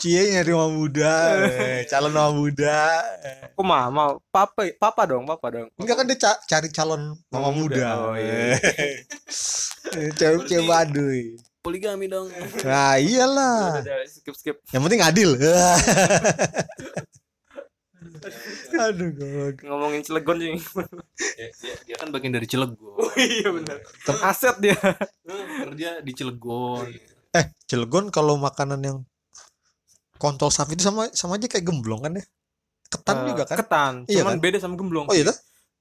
Speaker 2: Cie nyari mama muda, eh, calon mama muda. eh.
Speaker 3: Kok mama? Papa, papa dong, papa dong.
Speaker 2: Enggak kan dia ca- cari calon mama muda.
Speaker 3: Oh, iya.
Speaker 2: Eh, Cewek-cewek baduy.
Speaker 1: poligami dong
Speaker 2: Nah, iyalah.
Speaker 3: Udah, skip skip.
Speaker 2: Yang penting adil. Aduh, goblok.
Speaker 3: Ngomongin Cilegon sih.
Speaker 1: dia, dia- dia kan bagian dari Cilegon
Speaker 3: iya benar. Aset dia.
Speaker 1: kerja di Cilegon
Speaker 2: Eh, Cilegon kalau makanan yang kontol sapi itu sama sama aja kayak gemblong kan ya? Ketan
Speaker 3: Eh,
Speaker 2: juga kan?
Speaker 3: Ketan.
Speaker 2: Iya
Speaker 3: Cuman
Speaker 2: kan?
Speaker 3: beda sama gemblong.
Speaker 2: Oh iya tuh.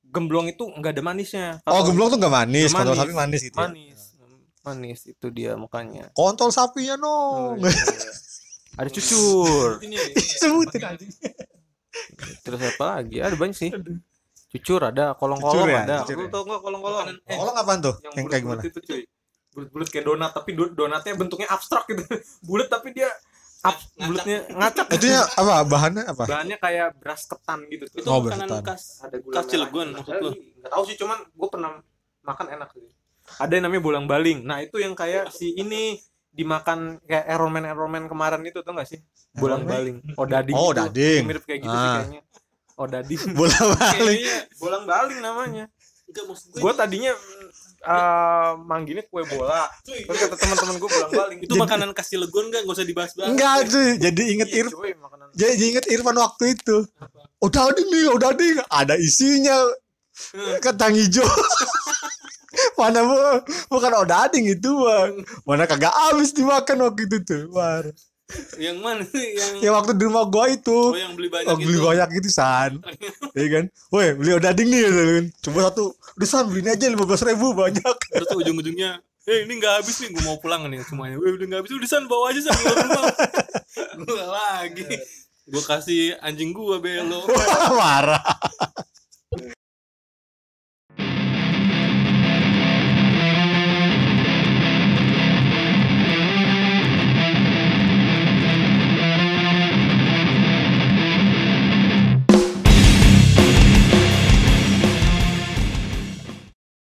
Speaker 3: Gemblong itu nggak ada manisnya.
Speaker 2: Oh,
Speaker 3: Kalau
Speaker 2: gemblong tuh nggak manis,
Speaker 3: Nggak
Speaker 2: kontol
Speaker 3: manis.
Speaker 2: sapi manis gitu. ya.
Speaker 3: Manis. Manis itu dia makanya.
Speaker 2: Kontol sapinya dong.
Speaker 3: iya. Ada cucur.
Speaker 1: ini ya.
Speaker 3: Eh,
Speaker 2: Sebutin anjing.
Speaker 3: Terus apa lagi? Ada banyak sih. Cucur ada, kolong-kolong
Speaker 2: Cucur ya,
Speaker 3: ada.
Speaker 2: cucur ya.
Speaker 3: Lu tau nggak kolong-kolong? Eh,
Speaker 2: Kolong apaan tuh? Yang, kayak gimana?
Speaker 3: bulat-bulat itu cuy bulat-bulat kayak donat tapi do- donatnya bentuknya abstrak gitu bulat tapi dia ab bulatnya ngacak
Speaker 2: Itunya ya apa? Bahannya apa?
Speaker 3: bahannya kayak beras ketan gitu tuh.
Speaker 1: itu
Speaker 2: Oh,
Speaker 1: makanan
Speaker 2: bersetan.
Speaker 1: khas
Speaker 3: ada gitu.
Speaker 1: khas Cilegon, maksud lu?
Speaker 3: nggak tahu sih cuman gue pernah makan enak sih ada yang namanya bolang baling nah itu yang kayak si ini dimakan kayak Iron eromen kemarin itu tuh gak sih bolang baling oh dading
Speaker 2: Oh,
Speaker 3: gitu.
Speaker 2: dading.
Speaker 3: mirip kayak gitu sih
Speaker 2: Ah.
Speaker 3: kayaknya oh dading
Speaker 2: Bola balik.
Speaker 3: Kayaknya bolang baling namanya
Speaker 1: Iya, enggak maksud gue
Speaker 3: gue tadinya eh mangginnya kue bola
Speaker 1: cuy,
Speaker 3: Terus kata teman-teman gue pulang balik.
Speaker 1: itu makanan khas Cilegon enggak enggak usah dibahas-bahas
Speaker 2: Enggak tuh, jadi inget
Speaker 3: Iya,
Speaker 2: Ir
Speaker 3: cuy, makanan.
Speaker 2: jadi inget Irfan waktu itu. Udah ada nih, udah ada nih. Ada isinya
Speaker 3: Iya.
Speaker 2: kentang hijau. mana bu, bukan odading itu bang
Speaker 3: Iya.
Speaker 2: mana kagak habis dimakan waktu itu tuh War.
Speaker 1: yang mana sih yang
Speaker 2: ya waktu di rumah gua
Speaker 1: oh,
Speaker 2: itu
Speaker 1: yang beli banyak
Speaker 2: Oh, beli
Speaker 1: itu
Speaker 2: banyak gitu san Iya kan Woi beli odading nih gitu kan. Coba satu Udah san beliin aja 15 ribu banyak
Speaker 1: terus tuh ujung-ujungnya eh ini nggak habis nih gue mau pulang nih semuanya gue udah nggak habis udah san bawa aja san bawa ke rumah gue lagi gue kasih anjing gue belo
Speaker 2: Wah marah